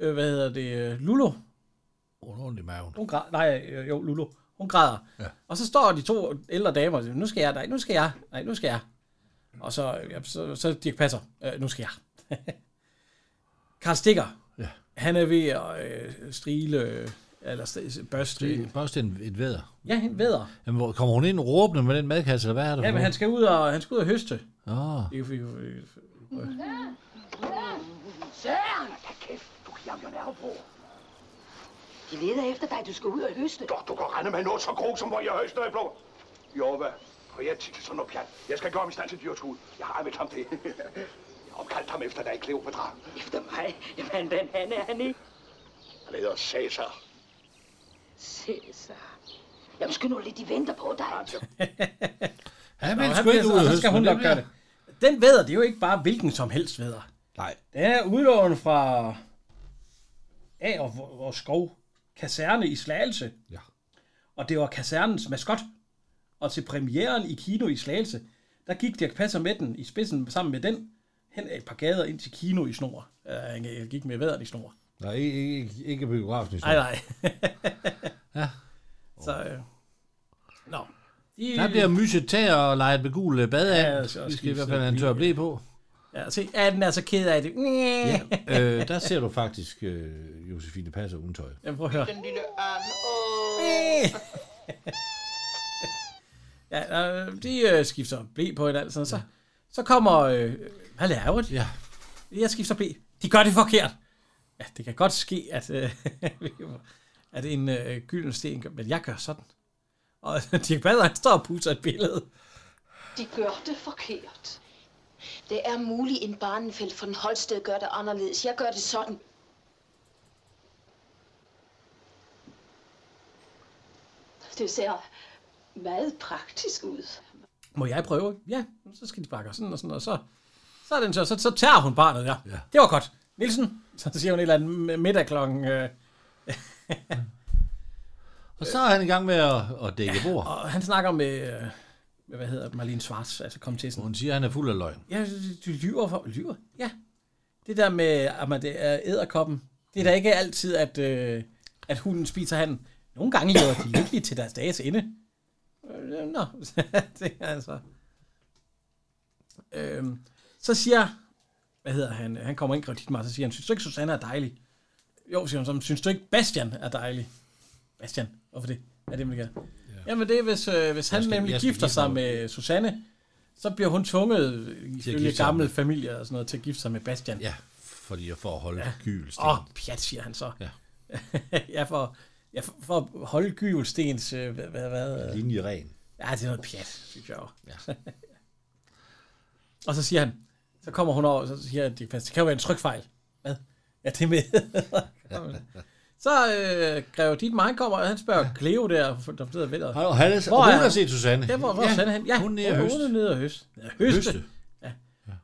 S1: øh, hvad hedder det? øh, Lulo.
S2: Hun har ondt i maven.
S1: Hun græder. Nej, øh, jo, Lulo. Hun græder.
S2: Ja.
S1: Og så står de to ældre damer og siger, nu skal jeg, nej, nu skal jeg, nej, nu skal jeg. Og så, øh, ja, så, så Dirk Passer, øh, nu skal jeg. Karl Stikker,
S2: Ja.
S1: han er ved at øh, strile, øh, eller st- børste.
S2: Det er bare sådan et væder.
S1: Ja, han væder.
S2: Jamen, hvor- kommer hun ind råbende med den madkasse, eller hvad er det?
S1: Ja, men han skal ud og, han skal ud og høste.
S2: Ah.
S1: Det er jo- jo- jo-
S19: Søren! Da kæft, du giver ham jo nerve på. De leder efter dig, du skal ud og høste.
S10: Godt, du kan rende med noget så grog, som hvor jeg høster i blå. Jo, hvad? For jeg er tit til sådan noget pjat. Jeg skal gøre ham i stand til dyrskud. Jeg har anmeldt ham det. jeg har opkaldt ham efter dig, Kleopatra.
S19: Efter mig? Jamen, den han er han ikke.
S10: Han hedder Cæsar.
S19: Cæsar. Jamen, skynd nu lidt, de venter på dig.
S2: Han
S1: Nå,
S2: vil
S1: han
S2: sgu ikke
S1: bliver-
S2: ud
S1: og
S2: og
S1: så
S2: høste,
S1: skal hun
S2: men det
S1: nok gøre det.
S2: bliver-
S1: Den væder, det er jo ikke bare hvilken som helst væder.
S2: Nej.
S1: Den er udlånet fra A og, og Skov Kaserne i Slagelse.
S2: Ja.
S1: Og det var kasernens maskot. og til premieren i Kino i Slagelse, der gik Dirk Passer med den i spidsen sammen med den hen ad et par gader ind til Kino i Snor. Øh, han øh, gik med vædret i Snor.
S2: Nej, ikke, ikke, ikke biografen.
S1: Nej, nej. ja. Så, øh, nå. I-
S2: Der bliver myset tag og leget med gul øh, bad af.
S1: Ja,
S2: Ja,
S1: det skal
S2: vi
S1: også
S2: skal i
S1: lige
S2: hvert fald have en tør
S1: sådan
S2: blæ på.
S1: Ja, se, er den altså ked af det? Ja.
S2: øh, der ser du faktisk øh, Josefine Passer uden tøj.
S1: Jamen, prøv at høre.
S20: Den lille an. Åh.
S1: Ja, øh, de øh, skifter blæ på et alt sådan, så, så kommer, øh, hvad laver de?
S2: Ja.
S1: Jeg skifter blæ. De gør det forkert. Ja, det kan godt ske, at, øh, at en øh, gylden sten gør, men jeg gør sådan. Og Dirk Bader, han står og pusser et billede.
S18: De gør det forkert. Det er muligt, en barnefelt for den Holsted gør det anderledes. Jeg gør det sådan.
S21: Det ser meget praktisk ud.
S1: Må jeg prøve? Ja, så skal de bakke og sådan og sådan, og så, så er den så, så, så tager hun barnet der. Ja. Det var godt. Nielsen, så siger hun et eller andet middag klokken... Øh,
S2: Og så er han i gang med at, at dække bord.
S1: Og han snakker med, øh, hvad hedder det, Marlene Schwartz, altså kom til sådan.
S2: Hun siger, at han er fuld af løgn.
S1: Ja, du lyver for, lyver? Ja. Det der med, at man, det er æderkoppen, det er da ikke altid, at, øh, at hunden spiser handen. Nogle gange lever de lykkelige til deres dages ende. Øh, Nå, det er altså... Øhm, så siger, hvad hedder han, han kommer ind kredit mig, så siger han, synes du ikke Susanne er dejlig? Jo, siger hun så, "Men synes du ikke Bastian er dejlig? Bastian, hvorfor det? Er det, man gør? Ja. Jamen det er, hvis, øh, hvis han
S2: skal-
S1: nemlig
S2: jeg skal
S1: gifter
S2: gifte
S1: sig
S2: mig.
S1: med Susanne, så bliver hun tvunget, ifølge
S2: gifte sig
S1: gammel
S2: med-
S1: familie og sådan noget, til at gifte sig med Bastian. Ja.
S2: Fordi jeg får at holde ja. gylsten.
S1: Åh, oh, pjat, siger han så.
S2: Ja.
S1: ja, for, ja, for, for at holde Gyvelstens... Øh, hvad, hvad, hvad,
S2: Linje ren.
S1: Ja, det er noget pjat, synes jeg også. Ja. og så siger han, så kommer hun over, og så siger han, det kan jo være en trykfejl. Hvad? Ja, det er med. så øh, Greve dit mig kommer, og han spørger Cleo der, der sidder ved der.
S2: Og han er- og hun har set Susanne.
S1: Ja, hvor, hvor
S2: Ja,
S1: ja, Susanne hen? Ja,
S2: hun er nede at
S1: hun-
S2: høste.
S1: Hun er nede og høste. Ja, høste.
S2: Høste.
S1: høste. Ja.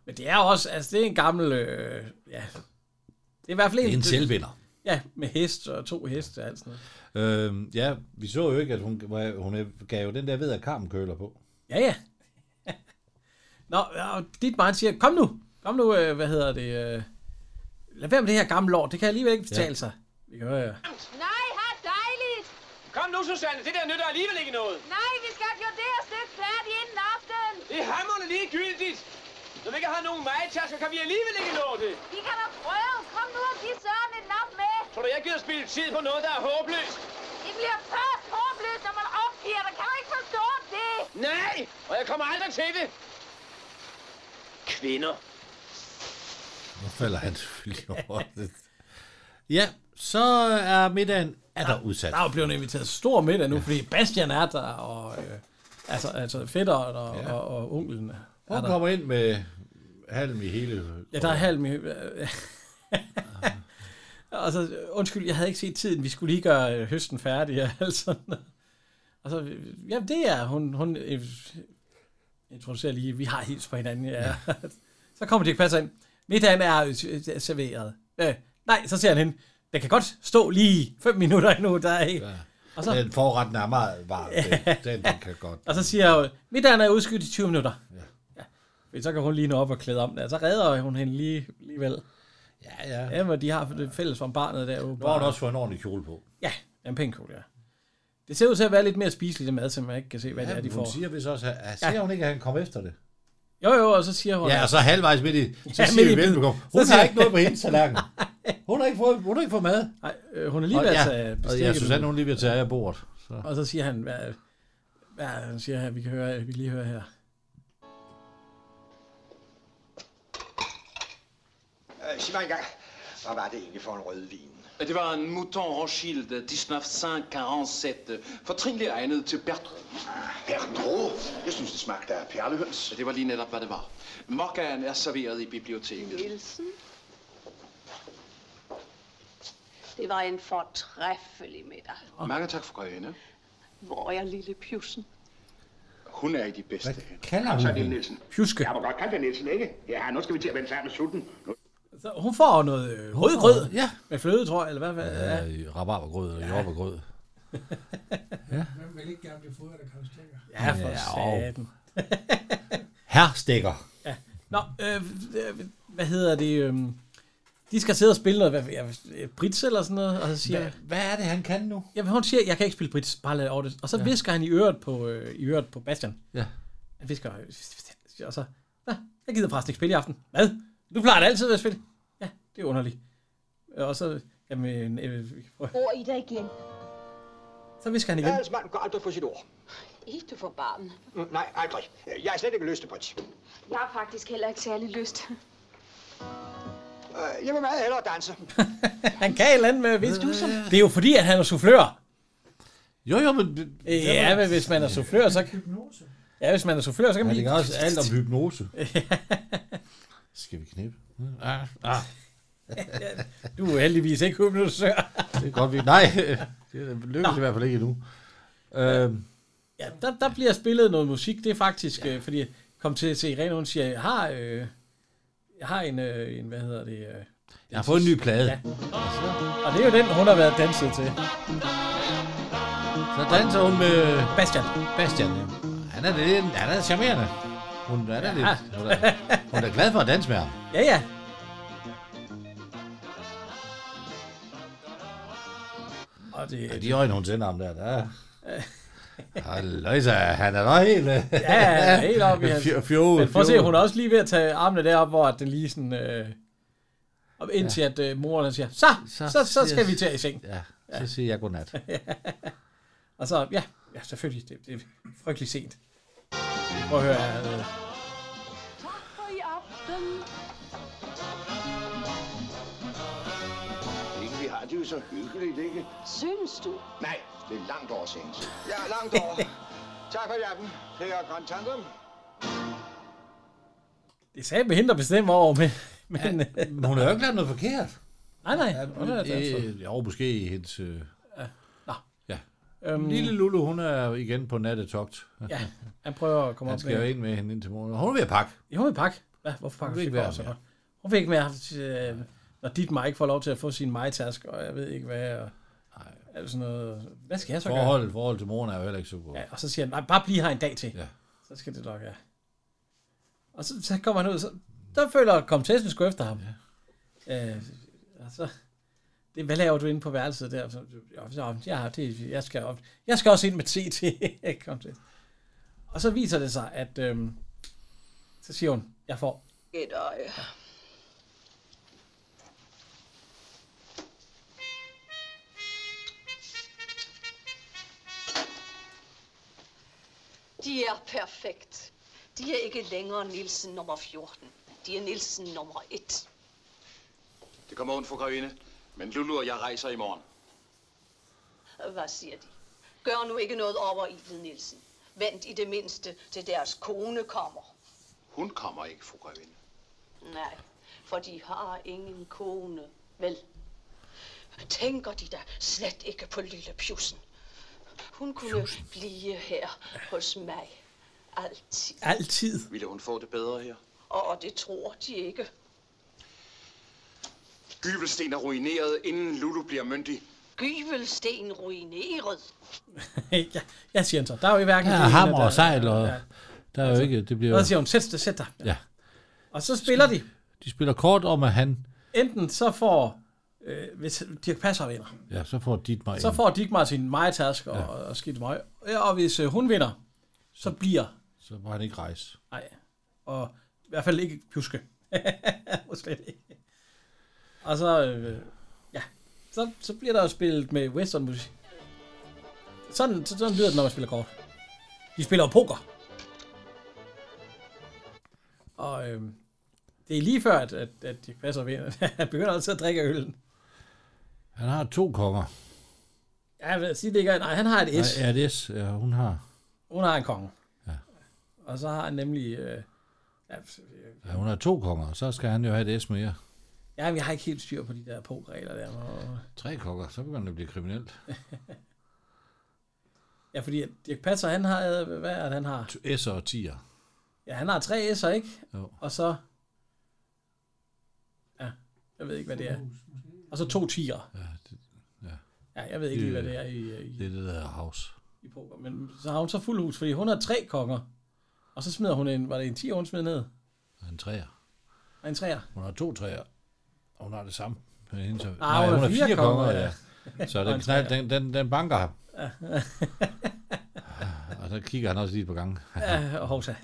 S1: Men det er jo også, altså det er en gammel, øh, ja, det er i hvert fald
S2: Det er en selvvinder.
S1: Ja, med hest og to heste og alt sådan noget.
S2: Øhm, ja, vi så jo ikke, at hun, hun gav jo den der ved at karmen køler på.
S1: Ja, ja. Nå, og dit barn siger, kom nu, kom nu, øh, hvad hedder det, øh, lad være med det her gamle lort, det kan alligevel ikke betale ja. sig. Jo, ja.
S5: Nej, har dejligt!
S17: Kom nu, Susanne, det der nytter alligevel ikke noget.
S5: Nej, vi skal have det og stykke færdigt inden aften!
S17: Det er hammerne ligegyldigt. Når vi ikke har nogen majtasker, kan vi alligevel ikke nå det.
S5: Vi kan da prøve! Kom nu og giv Søren en nap med!
S17: Tror du, jeg gider spille tid på noget, der er håbløst?
S5: Det bliver først håbløst, når man opgiver dig. Kan du ikke forstå det?
S17: Nej, og jeg kommer aldrig til det. Kvinder.
S2: Nu falder han selvfølgelig over det. Ja, så er middagen er der udsat.
S1: Der er jo blevet inviteret stor middag nu, ja. fordi Bastian er der, og øh, altså, altså fætteren og, ja. og, og onkelen er
S2: Hun
S1: der.
S2: kommer ind med halm i hele...
S1: Ja, der er halm i... og så, undskyld, jeg havde ikke set tiden. Vi skulle lige gøre øh, høsten færdig og alt sådan noget. Og så, øh, ja, det er hun. Hun øh, introducerer lige, vi har hils på hinanden. Ja. så kommer Dirk Passer ind. Middagen er øh, serveret. Øh, nej, så ser han hende. Den kan godt stå lige 5 minutter endnu. Der er ikke. Og så,
S2: Den forretten er meget varm. Den, den, den kan godt.
S1: og så siger hun, middagen er udskudt i 20 minutter. Ja. ja. Så kan hun lige nå op og klæde om det. Så redder hun hende lige, alligevel.
S2: Ja, ja.
S1: Ja, men de har det fælles om barnet der.
S2: Nu har hun også fået en ordentlig kjole på.
S1: Ja, en pæn kjole, ja. Det ser ud til at være lidt mere spiseligt, det mad, som jeg ikke kan se, hvad ja, det er, de
S2: hun
S1: får.
S2: siger vist også, at, at ser ja. hun ikke, at han kom efter det?
S1: Jo, jo, og så siger hun...
S2: Ja, og så halvvejs midt i, så
S1: Ja,
S2: ja, siger
S1: midt i
S2: vi
S1: bid-
S2: velbekomme.
S1: så
S2: Hun
S1: siger-
S2: har ikke noget på hendes tallerken. Hun har ikke fået, hun har ikke fået mad.
S1: Nej, øh, hun er lige ved at tage
S2: Og
S1: bestikket
S2: ja,
S1: nu.
S2: Susanne, hun er lige ved at tage af bordet. Så.
S1: Og så siger han, hvad, hvad er det, han siger her, vi kan høre, vi kan lige høre her.
S3: Øh, sig mig engang, hvad var det egentlig for en rødvin?
S17: Det var en Mouton Rothschild 1947, fortrinlig egnet til Bertrand.
S10: Ah,
S17: Bertrand? Jeg synes, det smagte af perlehøns. Det var lige netop, hvad det var. Mokkaen er serveret i biblioteket.
S9: Nielsen. Det var en fortræffelig middag.
S17: Mange tak for grønne.
S9: Hvor er lille Pjusen?
S22: Hun er i de bedste hænder.
S2: kalder
S22: Kom så,
S1: hun
S22: Lille
S1: hende?
S22: Nielsen.
S1: Pjuske.
S22: Jeg må godt kalde dig Nielsen, ikke? Ja, nu skal vi til at vende sammen med sulten. Nu
S1: Så hun får noget øh, rødgrød
S2: ja.
S1: med fløde, tror jeg, eller hvad? hvad ja.
S2: Øh, rabarbergrød eller jordbærgrød. Ja.
S11: Hvem vil ikke gerne blive fodret af Karl Stikker?
S1: Ja, for
S2: Ja, og-
S1: satan.
S2: Herr Stikker.
S1: Ja. Nå, øh, øh, hvad hedder det? Øh, de skal sidde og spille noget, hvad, jeg, brits eller sådan noget, og så siger
S2: Hva- hvad er det, han kan nu?
S1: Jamen, hun siger, jeg kan ikke spille brits, bare lad over det. Og så
S2: Ja.
S1: ja. visker han i øret på, øh, i øret på Bastian.
S2: Ja.
S1: Han visker, øh, og så, Nå, jeg gider forresten ikke spille i aften. Hvad? Du plejer det altid ved at spille. Ja, det er underligt. Og så, jamen, øh, prøv.
S23: Bor I der igen?
S1: så visker han igen.
S7: Ellers manden går aldrig på sit ord.
S24: Ikke du for barmen.
S7: Mm, Nej, aldrig. Jeg har slet ikke lyst til prins.
S24: Jeg har faktisk heller ikke særlig lyst.
S7: Øh, Jeg vil meget hellere danse.
S1: Han kan et eller andet med hvis du som... Det er jo fordi, at han er soufflør. Øh,
S2: Jo, jo, men...
S1: Ja, men hvis man er soufflør, så... Ja, hvis man er soufflør, så kan
S2: Han
S1: man
S2: kan
S1: lige...
S2: også alt om hypnose. Skal vi knippe? Ah, ah.
S1: Du er heldigvis ikke hypnotisør.
S2: Det er godt, vi... Nej, det lykkes i hvert fald ikke endnu. Øhm,
S1: Ja, der, der bliver spillet noget musik. Det er faktisk, ja. øh, fordi jeg kom til at se Irene, hun siger, jeg har, øh, jeg har en, øh, en, hvad hedder det? Øh,
S2: jeg har fået en ny plade.
S1: Ja. Og det er jo den, hun har været danset til.
S2: Så danser hun med...
S1: Bastian.
S2: Bastian, ja. Han er, lidt, han er charmerende. Hun, han er
S1: Ja.
S2: lidt, hun, er, hun er glad for at danse med ham.
S1: Ja, ja. Og det,
S2: Ja, de øjne, hun sender ham der, der... Halløjsa, han er da helt... øh,
S1: Ja, helt op i hans.
S2: fjo- fjollet,
S1: Men prøv at se,
S2: fjollet.
S1: hun er også lige ved at tage armene derop, hvor at den lige sådan... Øh, op indtil ja. at øh, moren siger, så, så, så, så skal vi tage i seng.
S2: Ja, så siger jeg godnat.
S1: Og så, ja, ja selvfølgelig, det, det er frygtelig sent. Prøv at høre her. Øh.
S23: For i aften.
S10: Ikke, vi har det jo så hyggeligt, ikke?
S6: Synes du?
S10: Nej, det er langt over sent.
S7: Ja, langt over. tak for i aften. Det er Grand Tandem.
S1: Det sagde med hende, der bestemmer over med. Men, ja,
S2: Men hun har jo ikke lavet noget forkert.
S1: Nej, nej. Ja,
S2: Hun
S1: hun er altså. danser.
S2: øh, jo, måske i hendes... Øh,
S1: Nå.
S2: ja.
S1: Øhm.
S2: Lille Lulu, hun er igen på nattetogt.
S1: ja, han prøver at komme
S2: Han
S1: op
S2: skal jo ind med hende indtil morgen. Hun er ved at pakke.
S1: Jo, hun vil pakke. Hvad? Hvorfor pakker
S2: vil
S1: hun
S2: ikke
S1: ikke
S2: være
S1: være så godt? Hun vil ikke mere, øh, når dit mig ikke får lov til at få sin majtask, og jeg ved ikke hvad, og alt sådan noget. Hvad skal jeg så gøre?
S2: Forholdet, forholdet til moren er jo heller ikke så godt.
S1: Ja, og så siger han, nej, bare bliv her en dag til.
S2: Ja.
S1: Så skal det nok, ja. Og så, så kommer han ud, så, der føler komtessen sgu efter ham. Ja. Øh, og så, det, hvad laver du inde på værelset der? Så, "Jo, så, ja, det, jeg, skal op, jeg skal også ind med te til komtessen. Og så viser det sig, at øhm, så siger hun, jeg får
S9: Et øje. De er perfekt. De er ikke længere Nielsen nummer 14. De er Nielsen nummer 1.
S12: Det kommer ondt, fru Grevinde. Men Lulu og jeg rejser i morgen.
S9: Hvad siger de? Gør nu ikke noget over Ivel Nielsen. Vent i det mindste til deres kone kommer.
S12: Hun kommer ikke, fru Grevinde.
S9: Nej, for de har ingen kone, vel? Tænker de da slet ikke på lille Pjusen? Hun kunne blive her hos mig altid,
S1: altid.
S12: Ville hun få det bedre her?
S9: og det tror de ikke.
S12: Gyvelsten er ruineret, inden Lulu bliver myndig.
S9: Gyvelsten ruineret.
S1: ja, jeg siger han så, der er jo i hverken
S2: Der er
S1: det ene,
S2: hammer
S1: der-
S2: og sejl, og der er jo ikke... Det bliver...
S1: Og så Altså, siger hun, sæt dig, sæt dig.
S2: Ja.
S1: Og så spiller de.
S2: De spiller kort om, at han...
S1: Enten så får, øh, hvis Dirk Passer vinder,
S2: Ja, så får dit mig
S1: så får Digmar sin majatask og, ja. og skidt møg. Ja, Og hvis øh, hun vinder, så bliver,
S2: Så må han ikke rejse.
S1: nej, og i hvert fald ikke pjuske. Og slet ikke. og så, øh, ja, så, så bliver der jo spillet med western musik. Sådan, så- sådan lyder det, når man spiller kort. De spiller jo poker. Og øh, det er lige før, at, at, at Dirk Passer vinder. Han begynder altid at drikke af øllen.
S2: Han har to konger.
S1: Ja, jeg vil sige det ikke. Nej, han har et S.
S2: Nej, ja, et S. Ja, hun har...
S1: Hun har en konge. Ja. Og så har han nemlig... Øh, ja,
S2: Ja, hun har to konger, så skal han jo have et S mere.
S1: ja, jeg har ikke helt styr på de der pogregler der. Og,
S2: Tre konger, så begynder det at blive kriminelt.
S1: ja, fordi at Dirk Passer, han har... øh, Hvad er det, han har?
S2: S'er og 10'er.
S1: Ja, han har tre S'er, ikke?
S2: Jo.
S1: Og så... Ja, jeg ved ikke, hvad det er. Og så to tiger. Ja,
S2: ja.
S1: Ja, jeg ved ikke lige, hvad det er i, øh, i,
S2: Det er det, der hedder House.
S1: i poker. Men så har hun så fuld hus, fordi hun har tre konger. Og så smider hun en, var det en 10 hun smed ned?
S2: Og En træer.
S1: Og en træer.
S2: Hun har to træer. Og hun har det samme. med hende, så-
S1: Ah, hun har fire konger, ja.
S2: Så
S1: Og
S2: den,
S1: en
S2: knald,
S1: træer.
S2: den, den, den banker ham.
S1: Ja.
S2: og så kigger han også lige på gangen.
S1: Ja, og Øh, hovsa.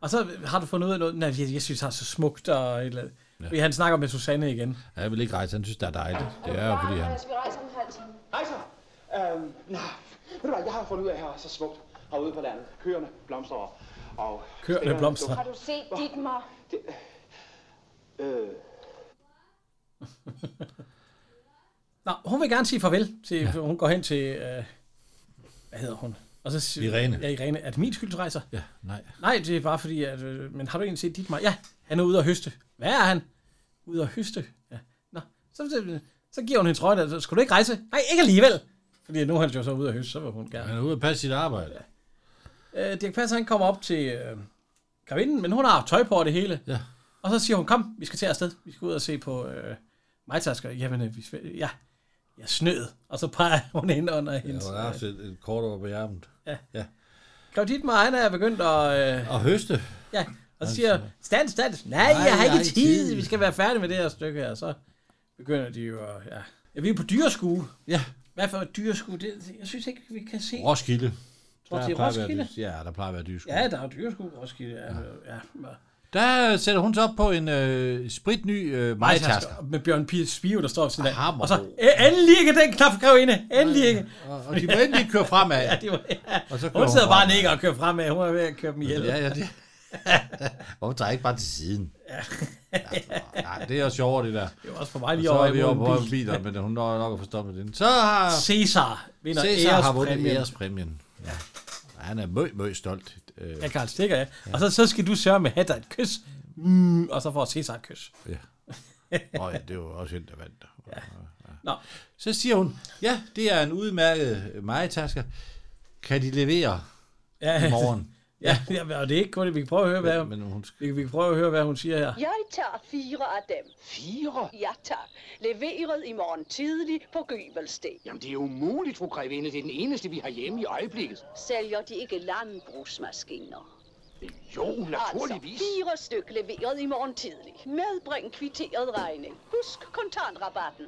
S1: og så har du fundet ud af noget, nej, jeg, jeg synes, han er så smukt og et eller andet.
S2: Ja.
S1: Fordi han snakker med Susanne igen.
S2: Ja, jeg vil ikke rejse, han synes, det er dejligt. Det er jo fordi, han...
S17: vi rejser om en halv time. Rejser? Øhm, nej. Ved du hvad, jeg har fundet ud af, at her er så smukt herude på landet. Køerne blomstrer, og...
S1: Køerne
S17: stængerne
S1: blomstrer.
S17: dukker.
S1: Har
S19: du set Dietmar?
S17: Øh,
S1: Nå, hun vil gerne sige farvel. Til, ja. Hun går hen til, øh, hvad hedder hun? Og så siger,
S2: Irene.
S1: Ja, Irene. Er det min skyld, du rejser?
S2: Ja, nej.
S1: Nej, det er bare fordi, at, øh, men har du egentlig set dit mig? Ja, han er ude at høste. Hvad er han? Ude at høste? Ja. Nå, så, så, så giver hun hende trøjen, altså, skulle du ikke rejse? Nej, ikke alligevel. Fordi nu er han jo så ude at høste, så vil hun gerne.
S2: Han er ude at passe sit arbejde.
S1: Øh, Dirk Passer, han kommer op til øh, gravinden, men hun har haft tøj på og det hele.
S2: Ja.
S1: Og så siger hun, kom, vi skal til afsted. Vi skal ud og se på øh, majtasker. Jamen, øh, vi, skal- ja, jeg snød. Og så peger hun ind under
S2: Ja,
S1: hendes... øh,
S2: hun har haft et, et kort over på hjermen.
S1: Ja.
S2: ja.
S1: Grev Dietmar, han er begyndt at... Øh,
S2: Og høste.
S1: ja, og så siger, stand, stand. Nej, jeg har ikke tid. Vi skal være færdige med det her stykke her. Så begynder de jo at... Ja. ja vi er på dyreskue.
S2: Ja.
S1: Hvad for et dyreskue? Det, jeg synes ikke, vi kan se...
S2: Roskilde.
S1: Tror du, det er
S2: plejer at være
S1: Roskilde?
S2: dys- Ja, der plejer at være dysk.
S1: Ja, der er jo dyreskue, Roskilde. Ja. ja. ja.
S2: Der sætter hun sig op på en øh, spritny øh, majtasker.
S1: Med Bjørn P. Spiro, der står ved siden af.
S2: Hammerbro.
S1: Og så, "Æ, endelig ikke den knap, grevinde. Endelig ikke.
S2: Og, og de vil endelig køre fremad.
S1: ja, de var, ja.
S2: Og så kører
S1: hun sidder
S2: hun
S1: bare
S2: fremad.
S1: nikker og kører fremad. Hun er ved at køre dem ihjel.
S2: Ja, ja, det. Hvorfor tager jeg ikke bare til siden? Ja. Nej, det er jo sjovere, det der.
S1: Det er også for mig
S2: Og
S1: lige
S2: så
S1: over
S2: er vi
S1: imod
S2: over
S1: en
S2: på
S1: bil.
S2: biler, men hun når nok at få stoppet den. Så har...
S1: Cæsar vinder
S2: Cæsar har vundet
S1: ærespræmien.
S2: ærespræmien. Ja. Han er møg, møg stolt. Øh,
S1: Ja, Karl Stikker, ja. Og så, så skal du sørge med at have dig et kys. Mm, og så får Cæsar et kys.
S2: Ja. Nå ja, det var også hende, der vandt. Ja.
S1: Nå.
S2: Så siger hun, ja, det er en udmærket majetasker. Kan de levere
S1: Ja.
S2: i morgen?
S1: Ja, ja, og det er ikke kun det. Vi kan prøve at høre, hvad,
S2: men hun skal...
S1: vi, kan- vi kan prøve at høre, hvad hun siger her.
S9: Jeg tager fire af dem.
S4: Fire?
S9: Ja, tak. Leveret i morgen tidlig på Gøbelsten.
S4: Jamen, det er umuligt, fru Grevinde. Det er den eneste, vi har hjemme i øjeblikket.
S9: Sælger de ikke landbrugsmaskiner?
S4: Øh, Jo, naturligvis.
S9: Altså, fire styk leveret i morgen tidlig. Medbring kvitteret regning. Husk kontantrabatten.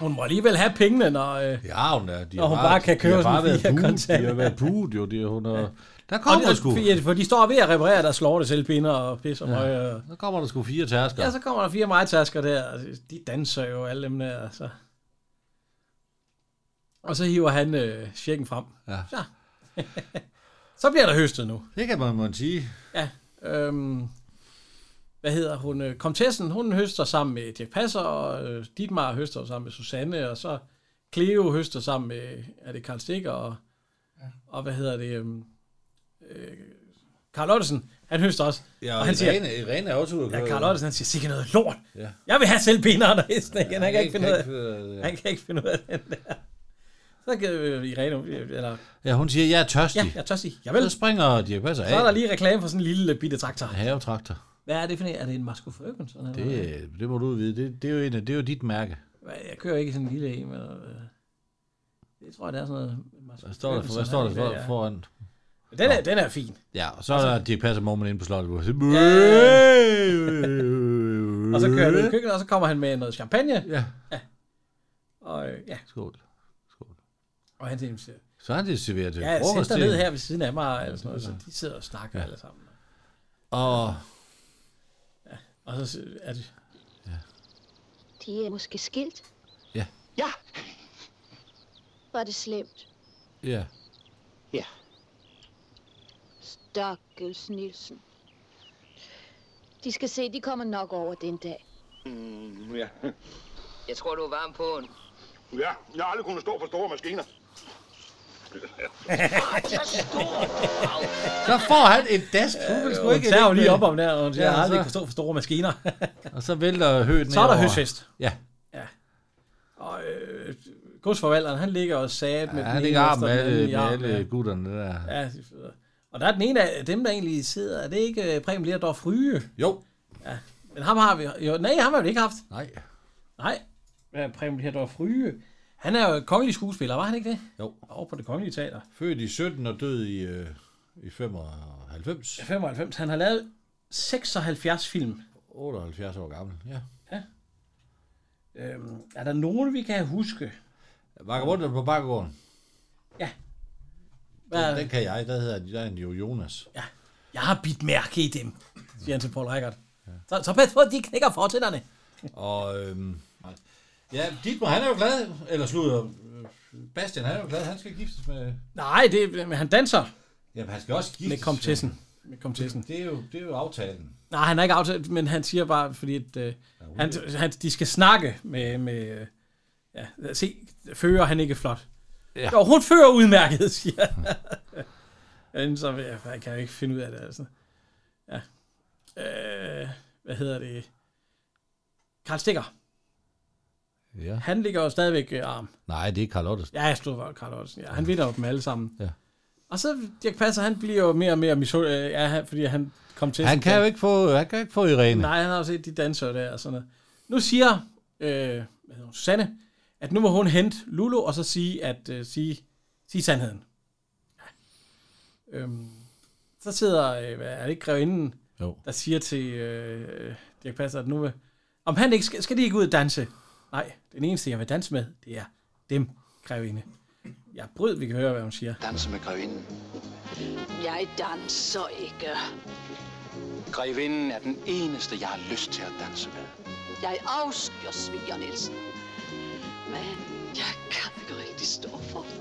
S1: Hun må alligevel have pengene, når... Øh,
S2: Ja, hun er. De
S1: Når hun bare kan købe
S2: de har bare
S1: sådan fire
S2: været buet,
S1: kontanter.
S2: De har været buet, jo. De, hun er, Der
S1: og,
S2: kommer der sgu.
S1: og, for de står ved at reparere deres slående selvbinder og pisser ja. høje.
S2: Der kommer der sgu fire tærsker.
S1: Ja, så kommer der fire majtasker der, og de danser jo alle dem der. Så. Og så hiver han øh, checken frem.
S2: Ja.
S1: Så. så bliver der høstet nu.
S2: Det kan man må sige.
S1: Ja. Øhm, hvad hedder hun? Øh, Komtessen, hun høster sammen med Dirk Passer, og øh, Dietmar høster jo sammen med Susanne, og så Cleo høster sammen med, er det Karl Stikker, og, ja. og hvad hedder det, øhm, øh, Karl Ottesen, han høster også.
S2: Ja,
S1: og han siger,
S2: Irene, Irene er også ude at
S1: Ja,
S2: køre.
S1: Karl Ottesen, han siger, sikkert noget lort.
S2: Øh, Ja.
S1: Jeg vil have selv beneren og hesten igen. Han kan ikke finde ud af
S2: det, ja.
S1: Han kan ikke finde ud af den der. Så kan øh, Irene, øh, eller...
S2: Ja, hun siger, jeg er tørstig.
S1: Ja, jeg er tørstig. Jeg vil.
S2: Så springer de passer af.
S1: Så er der lige reklame for sådan en lille øh, bitte traktor.
S2: Havetraktor.
S1: Hvad er det for en? Er det en Masco Ferguson? eller hvad?
S2: Det, det må du vide. Det, det, er jo en, af- det er jo dit mærke.
S1: Hvad, Jeg kører ikke i sådan en lille en, men... øh, Det tror jeg, det er sådan noget... Masco
S2: Hvad står der, for,
S1: Ferguson,
S2: hvad står der
S1: han
S2: for,
S1: er der.
S2: foran?
S1: Den er, den er fin.
S2: Ja, og så er der Dirk Passer Moment inde på slottet. hvor-
S1: Og så kører han
S2: Øh.
S1: ud i køkkenet, og så kommer han med noget champagne.
S2: Ja.
S1: ja. Og øh, ja,
S2: Skål.
S1: og han siger,
S2: Så er han det serveret til
S1: ja,
S2: frokost.
S1: sæt dig
S2: til.
S1: ned her ved siden af mig, eller sådan noget, så de sidder og snakker
S2: Ja.
S1: alle sammen.
S2: Og
S1: Og så er det,
S18: De er måske skilt.
S2: Ja.
S18: Ja! Var det slemt.
S2: ja,
S18: Stakkels Nielsen. De skal se, de kommer nok over den dag.
S10: Mm, ja.
S13: Jeg tror, du er varm på den.
S10: ja, jeg har aldrig kunnet stå for store maskiner.
S2: så får han en dask. Øh, Hun vil sgu
S1: hun
S2: ikke
S1: tager jo
S2: ind
S1: lige
S2: med-
S1: op om der, og hun siger,
S2: Ja,
S1: jeg har aldrig
S2: så-
S1: kan stå for store maskiner.
S2: Og så vælter høen
S1: Så er der
S2: nedover.
S1: høstfest.
S2: Ja.
S1: og øh, godsforvalteren, han ligger og sat med
S2: Ja,
S1: den
S2: han ligger
S1: ene
S2: arm
S1: efter
S2: med
S1: den anden
S2: alle,
S1: i
S2: med
S1: armen,
S2: alle gutterne der.
S1: Ja, ja det er fedt. Og der er den ene af dem, der egentlig sidder, er det ikke øh, Preben Lerdorf Ryge?
S2: Jo.
S1: Ja, men ham har vi, jo, nej, ham har vi ikke haft.
S2: Nej.
S1: Nej, hvad Preben Herdorf Fryge, han er jo kongelig skuespiller, var han ikke det?
S2: Jo.
S1: Over på det kongelige teater.
S2: Født i 17 og død i, øh, i 95.
S1: 95. Han har lavet 76 film.
S2: 78 år gammel, ja.
S1: Øhm, er der nogen, vi kan huske?
S2: Vagabunden på Bakkegården.
S1: Ja.
S2: Den, den kan jeg, der hedder der er den jo Jonas.
S1: Ja. Jeg har bidt mærke i dem, siger han til Paul Reichert. Ja. Så, så pas på, at de knækker fortænderne.
S2: Og øhm, ja, Dietmar, han er jo glad, eller slutter, Bastian, han er jo glad, han skal giftes med...
S1: Nej, det, men han danser.
S2: Jamen, han skal også giftes.
S1: Med komtessen. Med komtessen.
S2: Det er jo, det er jo aftalen.
S1: Nej, han har ikke aftalt, men han siger bare, fordi at, øh, han, han, de skal snakke med... med øh, ja, se, fører han ikke flot. Ja. Jo, hun fører udmærket, siger han. Enten så vil jeg, jeg kan ikke finde ud af det, altså. Ja. Øh, hvad hedder det? Karl Stikker.
S2: Ja.
S1: Han ligger jo stadigvæk øh, arm.
S2: Nej, det er Karl Ottesen.
S1: Ja, jeg stod for Carl Ottesen. Ja, han vinder jo dem alle sammen.
S2: Ja.
S1: Og så Dirk Passer, han bliver jo mere og mere misund, øh, ja, han- fordi han kom til.
S2: Han kan jo ikke få, han kan ikke få Irene.
S1: Nej, han har jo set de dansere der og sådan noget. Nu siger øh, hvad hedder hun, Susanne, at nu må hun hente Lulu og så sige, at, øh, sige, sige sandheden. Ja. Øhm, så sidder, øh, hvad er det ikke grevinden,
S2: jo.
S1: der siger til øh, Dirk Passer, at nu vil, om han ikke, skal, skal de ikke ud og danse? Nej, den eneste, jeg vil danse med, det er dem, grevinde. Jeg brød, vi kan høre, hvad hun siger.
S12: Danse med grevinden.
S9: Jeg danser ikke.
S12: Grevinden er den eneste, jeg har lyst til at danse med.
S9: Jeg afskyr Sviger Nielsen. Men jeg kan ikke rigtig stå for det.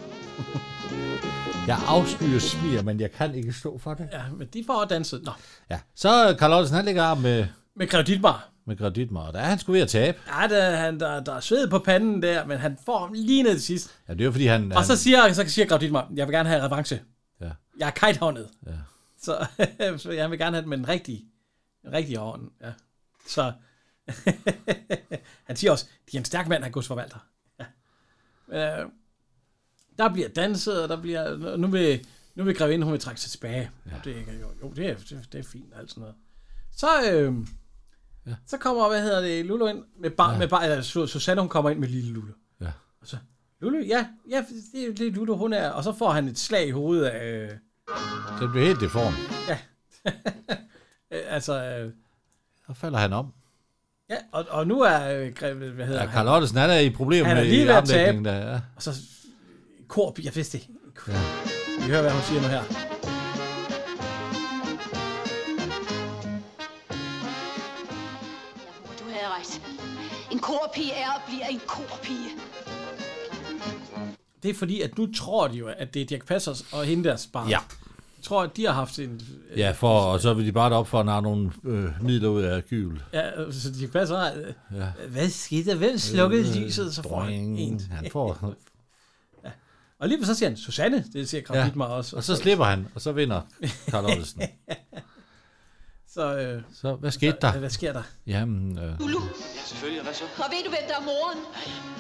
S2: Jeg afskyer smier, men jeg kan ikke stå for det.
S1: Ja, men de får danset. Nå,
S2: Ja. Så øh, Karl Ottesen, han ligger arm med,
S1: med Grev Dietmar.
S2: med Grev Dietmar, og der er han skulle ved at tabe.
S1: Ja, der, han, der, der er sved på panden der, men han får ham lige ned til sidst.
S2: Ja, det er jo fordi, han...
S1: Og så
S2: han,
S1: siger, så siger Grav Dietmar, jeg vil gerne have revanche.
S2: Ja.
S1: Jeg er kajthåndet.
S2: Ja.
S1: Så, så jeg vil gerne have den med den rigtige, den rigtige hånd. Ja. Så han siger også, de er en stærk mand, han gods forvalter. Ja. Øh, der bliver danset, og der bliver, nu vil, nu vil grevinde, hun vil trække sig tilbage. Ja. Det, er ikke- jo, jo, det er, det, det er fint og alt sådan noget. Så, øh, ja. så kommer, hvad hedder det, Lulu ind med bar, ja. med bar, eller Su- Susanne, hun kommer ind med lille Lulu.
S2: Ja.
S1: Og så, Lulu, ja, ja, det er jo det, Lulu, hun er, og så får han et slag i hovedet af, øh,
S2: Den bliver helt deform.
S1: Øh, altså, øh,
S2: Så falder han om.
S1: ja, og, og nu er, øh, Greve- hvad hedder
S2: Ja, Karl Ottesen, han er i problemer
S1: Han er
S2: med
S1: lige ved at tabe.
S2: armlægningen der. Ja.
S1: Og så Korp, jeg vidste det. Ja. Vi hører, hvad hun siger nu her.
S24: Du havde ret. En korpige er og bliver en korpige.
S1: Det er fordi, at nu tror de jo, at det er Dirk Passers og hende deres barn.
S2: Ja.
S1: Jeg tror, at de har haft en...
S2: ja, for, og så vil de bare op for at narre nogle øh, midler ud af gyvel.
S1: Ja, så Dirk Passer har... øh,
S2: Ja.
S1: Hvad skete der? Hvem slukkede
S2: Øh,
S1: lyset? Så får han
S2: boing.
S1: en.
S2: Han får-
S1: Ja. Og lige så siger han, Susanne, det siger Krav ja. også.
S2: Og så slipper han, og så vinder Karl Ottesen.
S1: Så, øh,
S2: så hvad skete der?
S1: Hvad sker der?
S2: Jamen, øh,
S24: Ulu.
S12: Ja, selvfølgelig. Hvad så?
S24: Og ved du, hvem der er moren?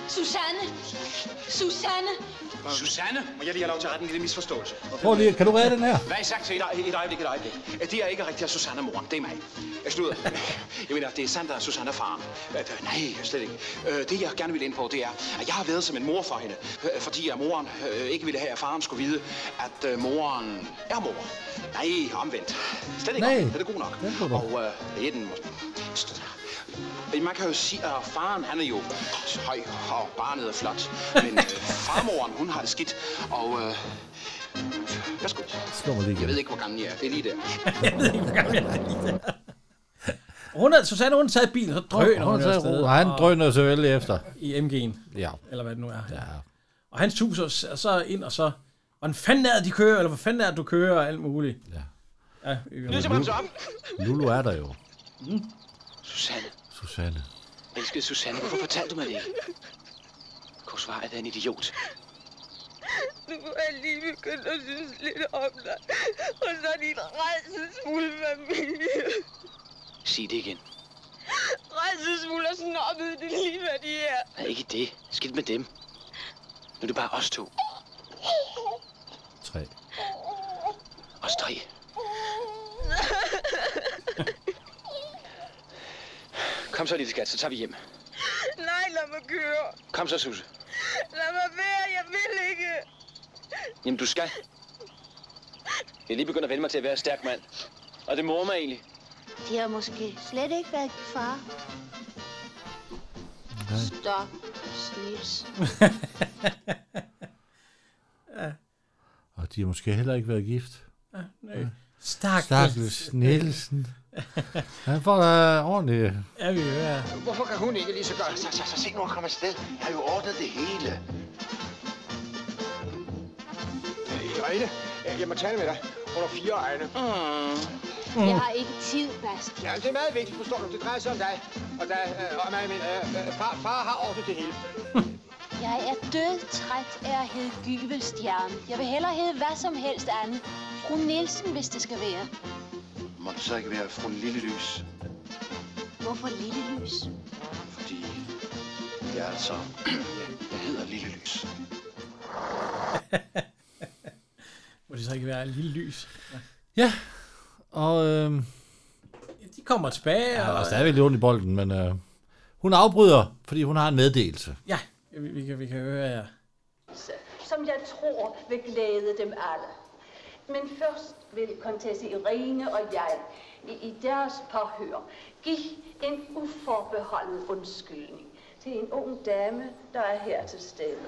S24: Susanne. Susanne.
S12: Susanne!
S17: Må jeg lige have lov til at rette en lille misforståelse?
S2: prøv lige, kan du redde den her?
S17: Hvad har I sagt til et, øje- et øjeblik, et øjeblik? At Det er ikke rigtigt, at Susanne er moren. Det er mig. Jeg slutter. Jeg mener, det er sandt, at Susanne er faren. At, øh, nej, slet ikke. Øh, Det, jeg gerne vil ind på, det er, at jeg har været som en mor for hende. øh, Fordi at moren øh, ikke ville have, at faren skulle vide, at øh, moren er mor. Nej, omvendt. Slet ikke.
S12: Nej.
S17: Er det god nok?
S12: Den kunne du.
S17: Og øh, det er den måske. Men Man kan jo sige, at faren han er jo høj, og barnet er flot. Men øh, farmoren, hun har det skidt. Og øh, værsgo.
S2: slår mig lige
S17: Jeg
S2: igen.
S17: ved ikke, hvor gammel jeg er. Det er lige der.
S1: Hun er, Susanne, hun sad i bilen, så drøner hun,
S2: Hun
S1: hun
S2: tager ro, og han drøner så vældig efter.
S1: I MG'en.
S2: Ja.
S1: Eller hvad det nu er.
S2: Ja.
S1: Og han suser s- og så ind, og så... Hvordan fanden er det, de kører? Eller hvor fanden er det, du kører? Og alt muligt. Ja. ja vi-
S17: Nu skal man så om.
S2: Lulu er der jo.
S17: Susanne.
S2: Susanne.
S17: Elskede Susanne, hvorfor fortalte du mig det ikke? Korsvar er da en idiot.
S3: Nu er jeg lige begyndt at synes lidt om dig. Og så er din redselsfulde familie.
S17: Sig det igen.
S3: Redselsfulde og snobbede, det er lige hvad de er.
S17: Nej, ikke det. Skidt med dem. Nu er det bare os to.
S2: Tre.
S17: Os tre. Kom så, lille skat, så tager vi hjem.
S3: Nej, lad mig
S5: køre.
S17: Kom så, Susse.
S5: Lad mig være, jeg vil ikke.
S17: Jamen, du skal. Jeg er lige begyndt at vende mig til at være stærk mand. Og det morer mig egentlig.
S25: De har måske slet ikke været i far.
S26: Stop. Snils.
S2: Og de har måske heller ikke været gift.
S1: Ja, nej.
S2: Ja.
S1: Stakkels.
S2: Stakkels Nielsen. Han får øh, da ordentligt.
S1: Ja, vi hører.
S3: Hvorfor kan hun ikke lige så godt?
S17: Så, så, så, se nu at komme afsted. Jeg har jo ordnet det hele.
S3: Irene, øh, jeg må tale med dig. Under fire øjne. Mm.
S18: Jeg har ikke tid, Basti.
S3: Ja, det er meget vigtigt, forstår du. Det drejer sig om dig. Og dig, øh, og mig, men øh, øh, far, far har ordnet det hele.
S18: Jeg er dødtræt af at hedde Gyvelstjerne. Jeg vil hellere hedde hvad som helst andet. Fru Nielsen, hvis det skal være.
S27: Må det så ikke være fru Lille Lys,
S18: Hvorfor lille lys?
S27: fordi jeg er så... jeg hedder Lille Lys.
S1: Må det så ikke være et lille lys? Ja.
S2: Ja, og øhm,
S1: De kommer tilbage,
S2: der er
S1: og...
S2: stadigvæk lidt ondt i bolden, men øh, hun afbryder, fordi hun har en meddelelse.
S1: Ja, vi, vi, kan, vi kan høre jer.
S9: som jeg tror vil glæde dem alle. Men først vil Contesse Irene og jeg i, i deres forhør give en uforbeholden undskyldning til en ung dame, der er her til stede.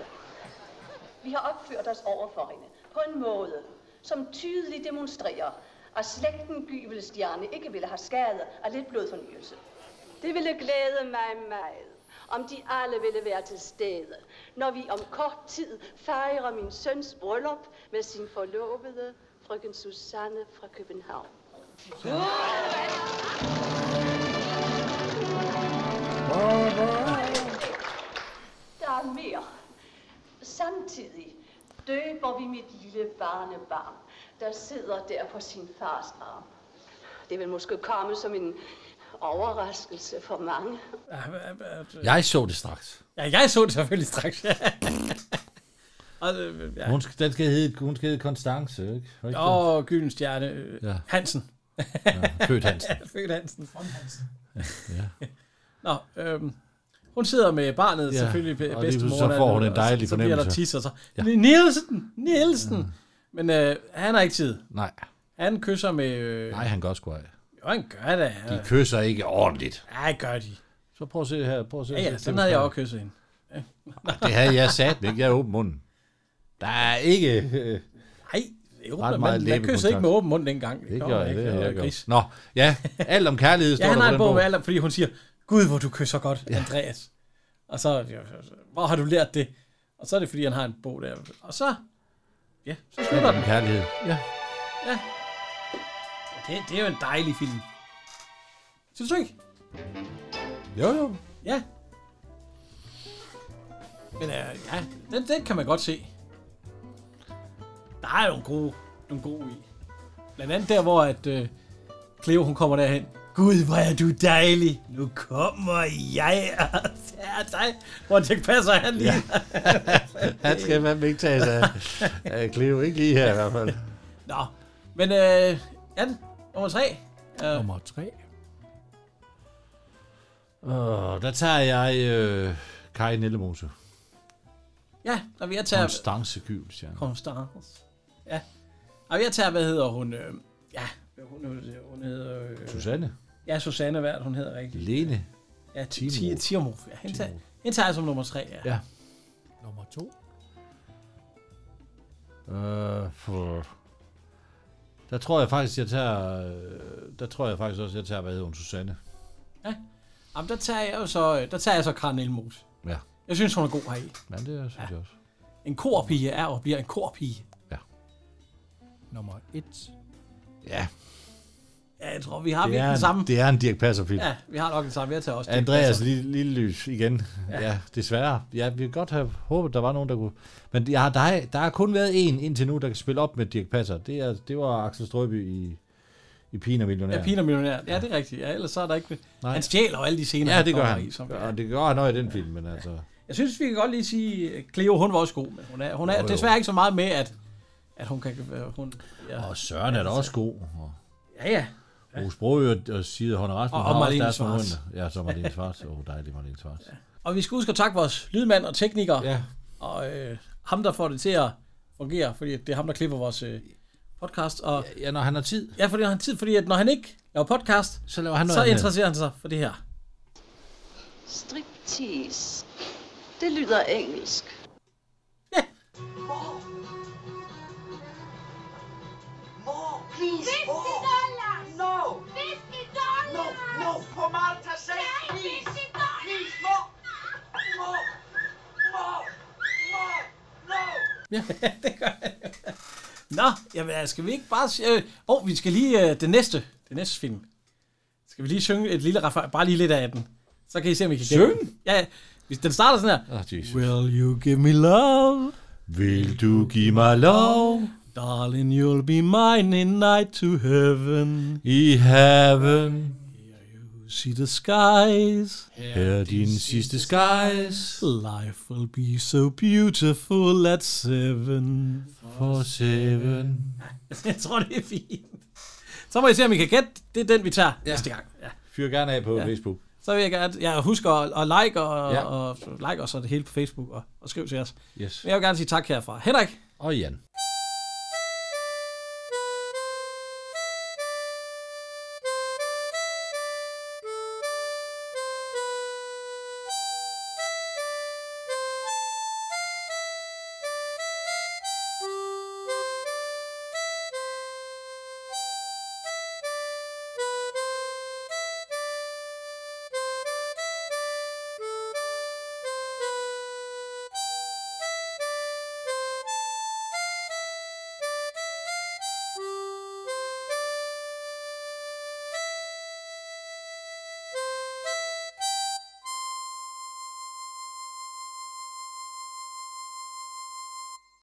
S9: Vi har opført os over for hende på en måde, som tydeligt demonstrerer, at slægten Gyvelstjerne ikke ville have skade af lidt blodfornyelse. Det ville glæde mig meget, om de alle ville være til stede, når vi om kort tid fejrer min søns bryllup med sin forlovede, frøken Susanne fra København. Der er mere. Samtidig døber vi mit lille barnebarn, der sidder der på sin fars arm. Det vil måske komme som en overraskelse for mange.
S2: Jeg så det straks.
S1: Ja, jeg så det selvfølgelig straks. og, øh,
S2: Ja. Hun, skal, den skal hedde, hun skal hedde Konstance, ikke? Var ikke det?
S1: Og Gyldens Stjerne øh,
S2: Ja.
S1: Hansen.
S2: Ja, Født Hansen.
S1: Født Hansen. Von Hansen.
S2: Ja.
S1: Nå, øhm, hun sidder med barnet
S2: Ja,
S1: ja, selvfølgelig
S2: og lige
S1: be-
S2: pludselig
S1: bedstemor.
S2: så får hun en dejlig
S1: og så, Så bliver der
S2: fornemmelse. Mm.
S1: tisser så. Ja. Nielsen! Nielsen! Men øh, han har ikke tid.
S2: Nej.
S1: Han kysser med... Øh,
S2: Nej, han kan også gå af.
S1: Jo, han gør det. Han,
S2: De kysser ikke ordentligt.
S1: Nej, gør de.
S2: Så prøv at se her. Prøv at se
S1: Ja, ja,
S2: se-
S1: sådan havde jeg også kysset hende. Ja.
S2: Det havde jeg sat mig. Jeg er åben munden. Der er ikke... Øh,
S1: Nej,
S2: ret
S1: Europa,
S2: meget
S1: man, man kyssede ikke
S2: læbekontakt.
S1: med åben mund dengang.
S2: det
S1: gjorde
S2: gør
S1: man
S2: jeg, det
S1: ikke,
S2: har
S1: og
S2: jeg gjort.
S1: gris.
S2: Nå, ja, alt om kærlighed står
S1: Ja, han har
S2: der
S1: en
S2: på den
S1: bog med
S2: bog.
S1: alder, fordi hun siger, Gud, hvor du kysser godt, ja. Andreas. Og så, hvor har du lært det? Og så er det, fordi han har en bog der. Og så, ja, så slutter
S2: Alt
S1: den.
S2: om kærlighed. Ja.
S1: Ja. Det, det er jo en dejlig film. Synes du ikke?
S2: Jo, jo.
S1: Ja. Men øh, ja, den, den kan man godt se. Der er nogle gode, nogle gode i. Blandt andet der, hvor at, øh, Cleo hun kommer derhen. Gud, hvor er du dejlig. Nu kommer jeg og tager dig. Hvor det passer han lige.
S2: Han skal fandme ikke tage sig af- af Cleo. Ikke lige her i hvert fald.
S1: Nå, men øh, ja, nummer tre. Øh, nummer tre.
S2: Åh, der tager jeg øh, Kai Nellemose.
S1: Ja, når vi er tager...
S2: Konstance Gyls, ja.
S1: Constance. Ja. Og jeg tager, hvad hedder hun? Øh, ja, hvad hun, hun, hun hedder... Øh,
S2: Susanne.
S1: Ja, Susanne, hvad er det, hun hedder rigtigt?
S2: Lene.
S1: Ja,
S2: Timor.
S1: Timor. Timor. Ja, hende, tager, hende tager jeg som nummer tre, ja.
S2: Ja.
S1: Nummer to?
S2: Øh, for... Der tror jeg faktisk, jeg tager... øh, Der tror jeg faktisk også, jeg tager, hvad hedder hun, Susanne.
S1: Ja. Jamen, der tager jeg jo så, øh, der tager jeg så Karen Elmos.
S2: Ja.
S1: Jeg synes, hun er god heri.
S2: Men det synes ja. jeg også.
S1: En korpige er og bliver en korpige.
S28: Nummer et.
S2: Ja.
S1: Ja, jeg tror, vi har
S2: det,
S1: virkelig
S2: er
S1: den samme.
S2: en, det er en Dirk Passer-film.
S1: Ja, vi har nok den samme. Jeg tager også Altså, Dirch
S2: Andreas
S1: Passer.
S2: lille, lille lys igen. Ja.
S1: Ja.
S2: ja. desværre. Ja, vi kunne godt have håbet, der var nogen, der kunne... Men ja, der, er, der har kun været en indtil nu, der kan spille op med Dirk Passer. Det, er, det var Axel Strøby i, i Pina Millionær.
S1: Ja, Pina Millionær. Ja, det er rigtigt. Ja, ellers så er der ikke...
S2: Nej.
S1: Nej. Han stjæler jo alle de scener,
S2: Ja, det gør
S1: kommer
S2: han.
S1: I, som-
S2: og det gør han også i den film, men altså...
S1: Jeg synes, vi kan godt lige sige, at Cleo, hun var også god, men hun er, hun er
S2: Jo,
S1: jo,
S2: jo.
S1: jo. desværre ikke så meget med, at, at hun kan... øh, Hun, ja.
S2: Og Søren er da også god. Og
S1: Ja, ja.
S2: Bruce Brogø og Side Hånd Rasmussen.
S1: Og- og
S2: har også
S1: Marlene
S2: deres
S1: Schwartz.
S2: momenter. Ja, så Marlene Schwartz. Åh, oh, dejlig Marlene Schwartz. Ja.
S1: Og vi skal huske at takke vores lydmand og tekniker. Ja. Og øh, ham, der får det til at fungere, fordi det er ham, der klipper vores øh, podcast. Og,
S2: ja, når han har tid.
S1: Ja, fordi når han har tid, fordi at når han ikke laver podcast,
S2: så, laver han
S1: så
S2: noget andet.
S1: interesserer han sig for det her.
S9: Striptease. Det lyder engelsk.
S5: More, please. Fifty dollars. No. Fifty dollars. No, no. For Malta's sake, please. Fifty dollars. Please, more, more, more, more. No.
S1: Ja, det gør han. Nå, jamen, øh, skal vi ikke bare... Åh, øh, oh, vi skal lige... Øh, det næste. Det næste film. Skal vi lige synge et lille refer- Bare lige lidt af den. Så kan I se, om I kan gætte den. Ja, ja. Hvis den starter sådan her.
S2: Oh, Jesus.
S1: Will you give me love?
S2: Vil du give mig lov?
S1: Darling, you'll be mine in night to heaven.
S2: I heaven.
S1: You see the skies.
S2: Her er din sidste skies.
S1: Life will be so beautiful at seven.
S2: For seven.
S1: Jeg tror, det er fint. Så må I se, om I kan gætte. Det er den, vi tager ja. næste gang. Ja.
S2: Fyr gerne af på
S1: Ja.
S2: ja. Facebook.
S1: Så vil jeg gerne, jeg husker at, at like og,
S2: Ja.
S1: ja. og, like os og det hele på Facebook og, og skriv til os.
S2: Yes.
S1: Men jeg vil gerne sige tak herfra. Henrik.
S2: Og Jan.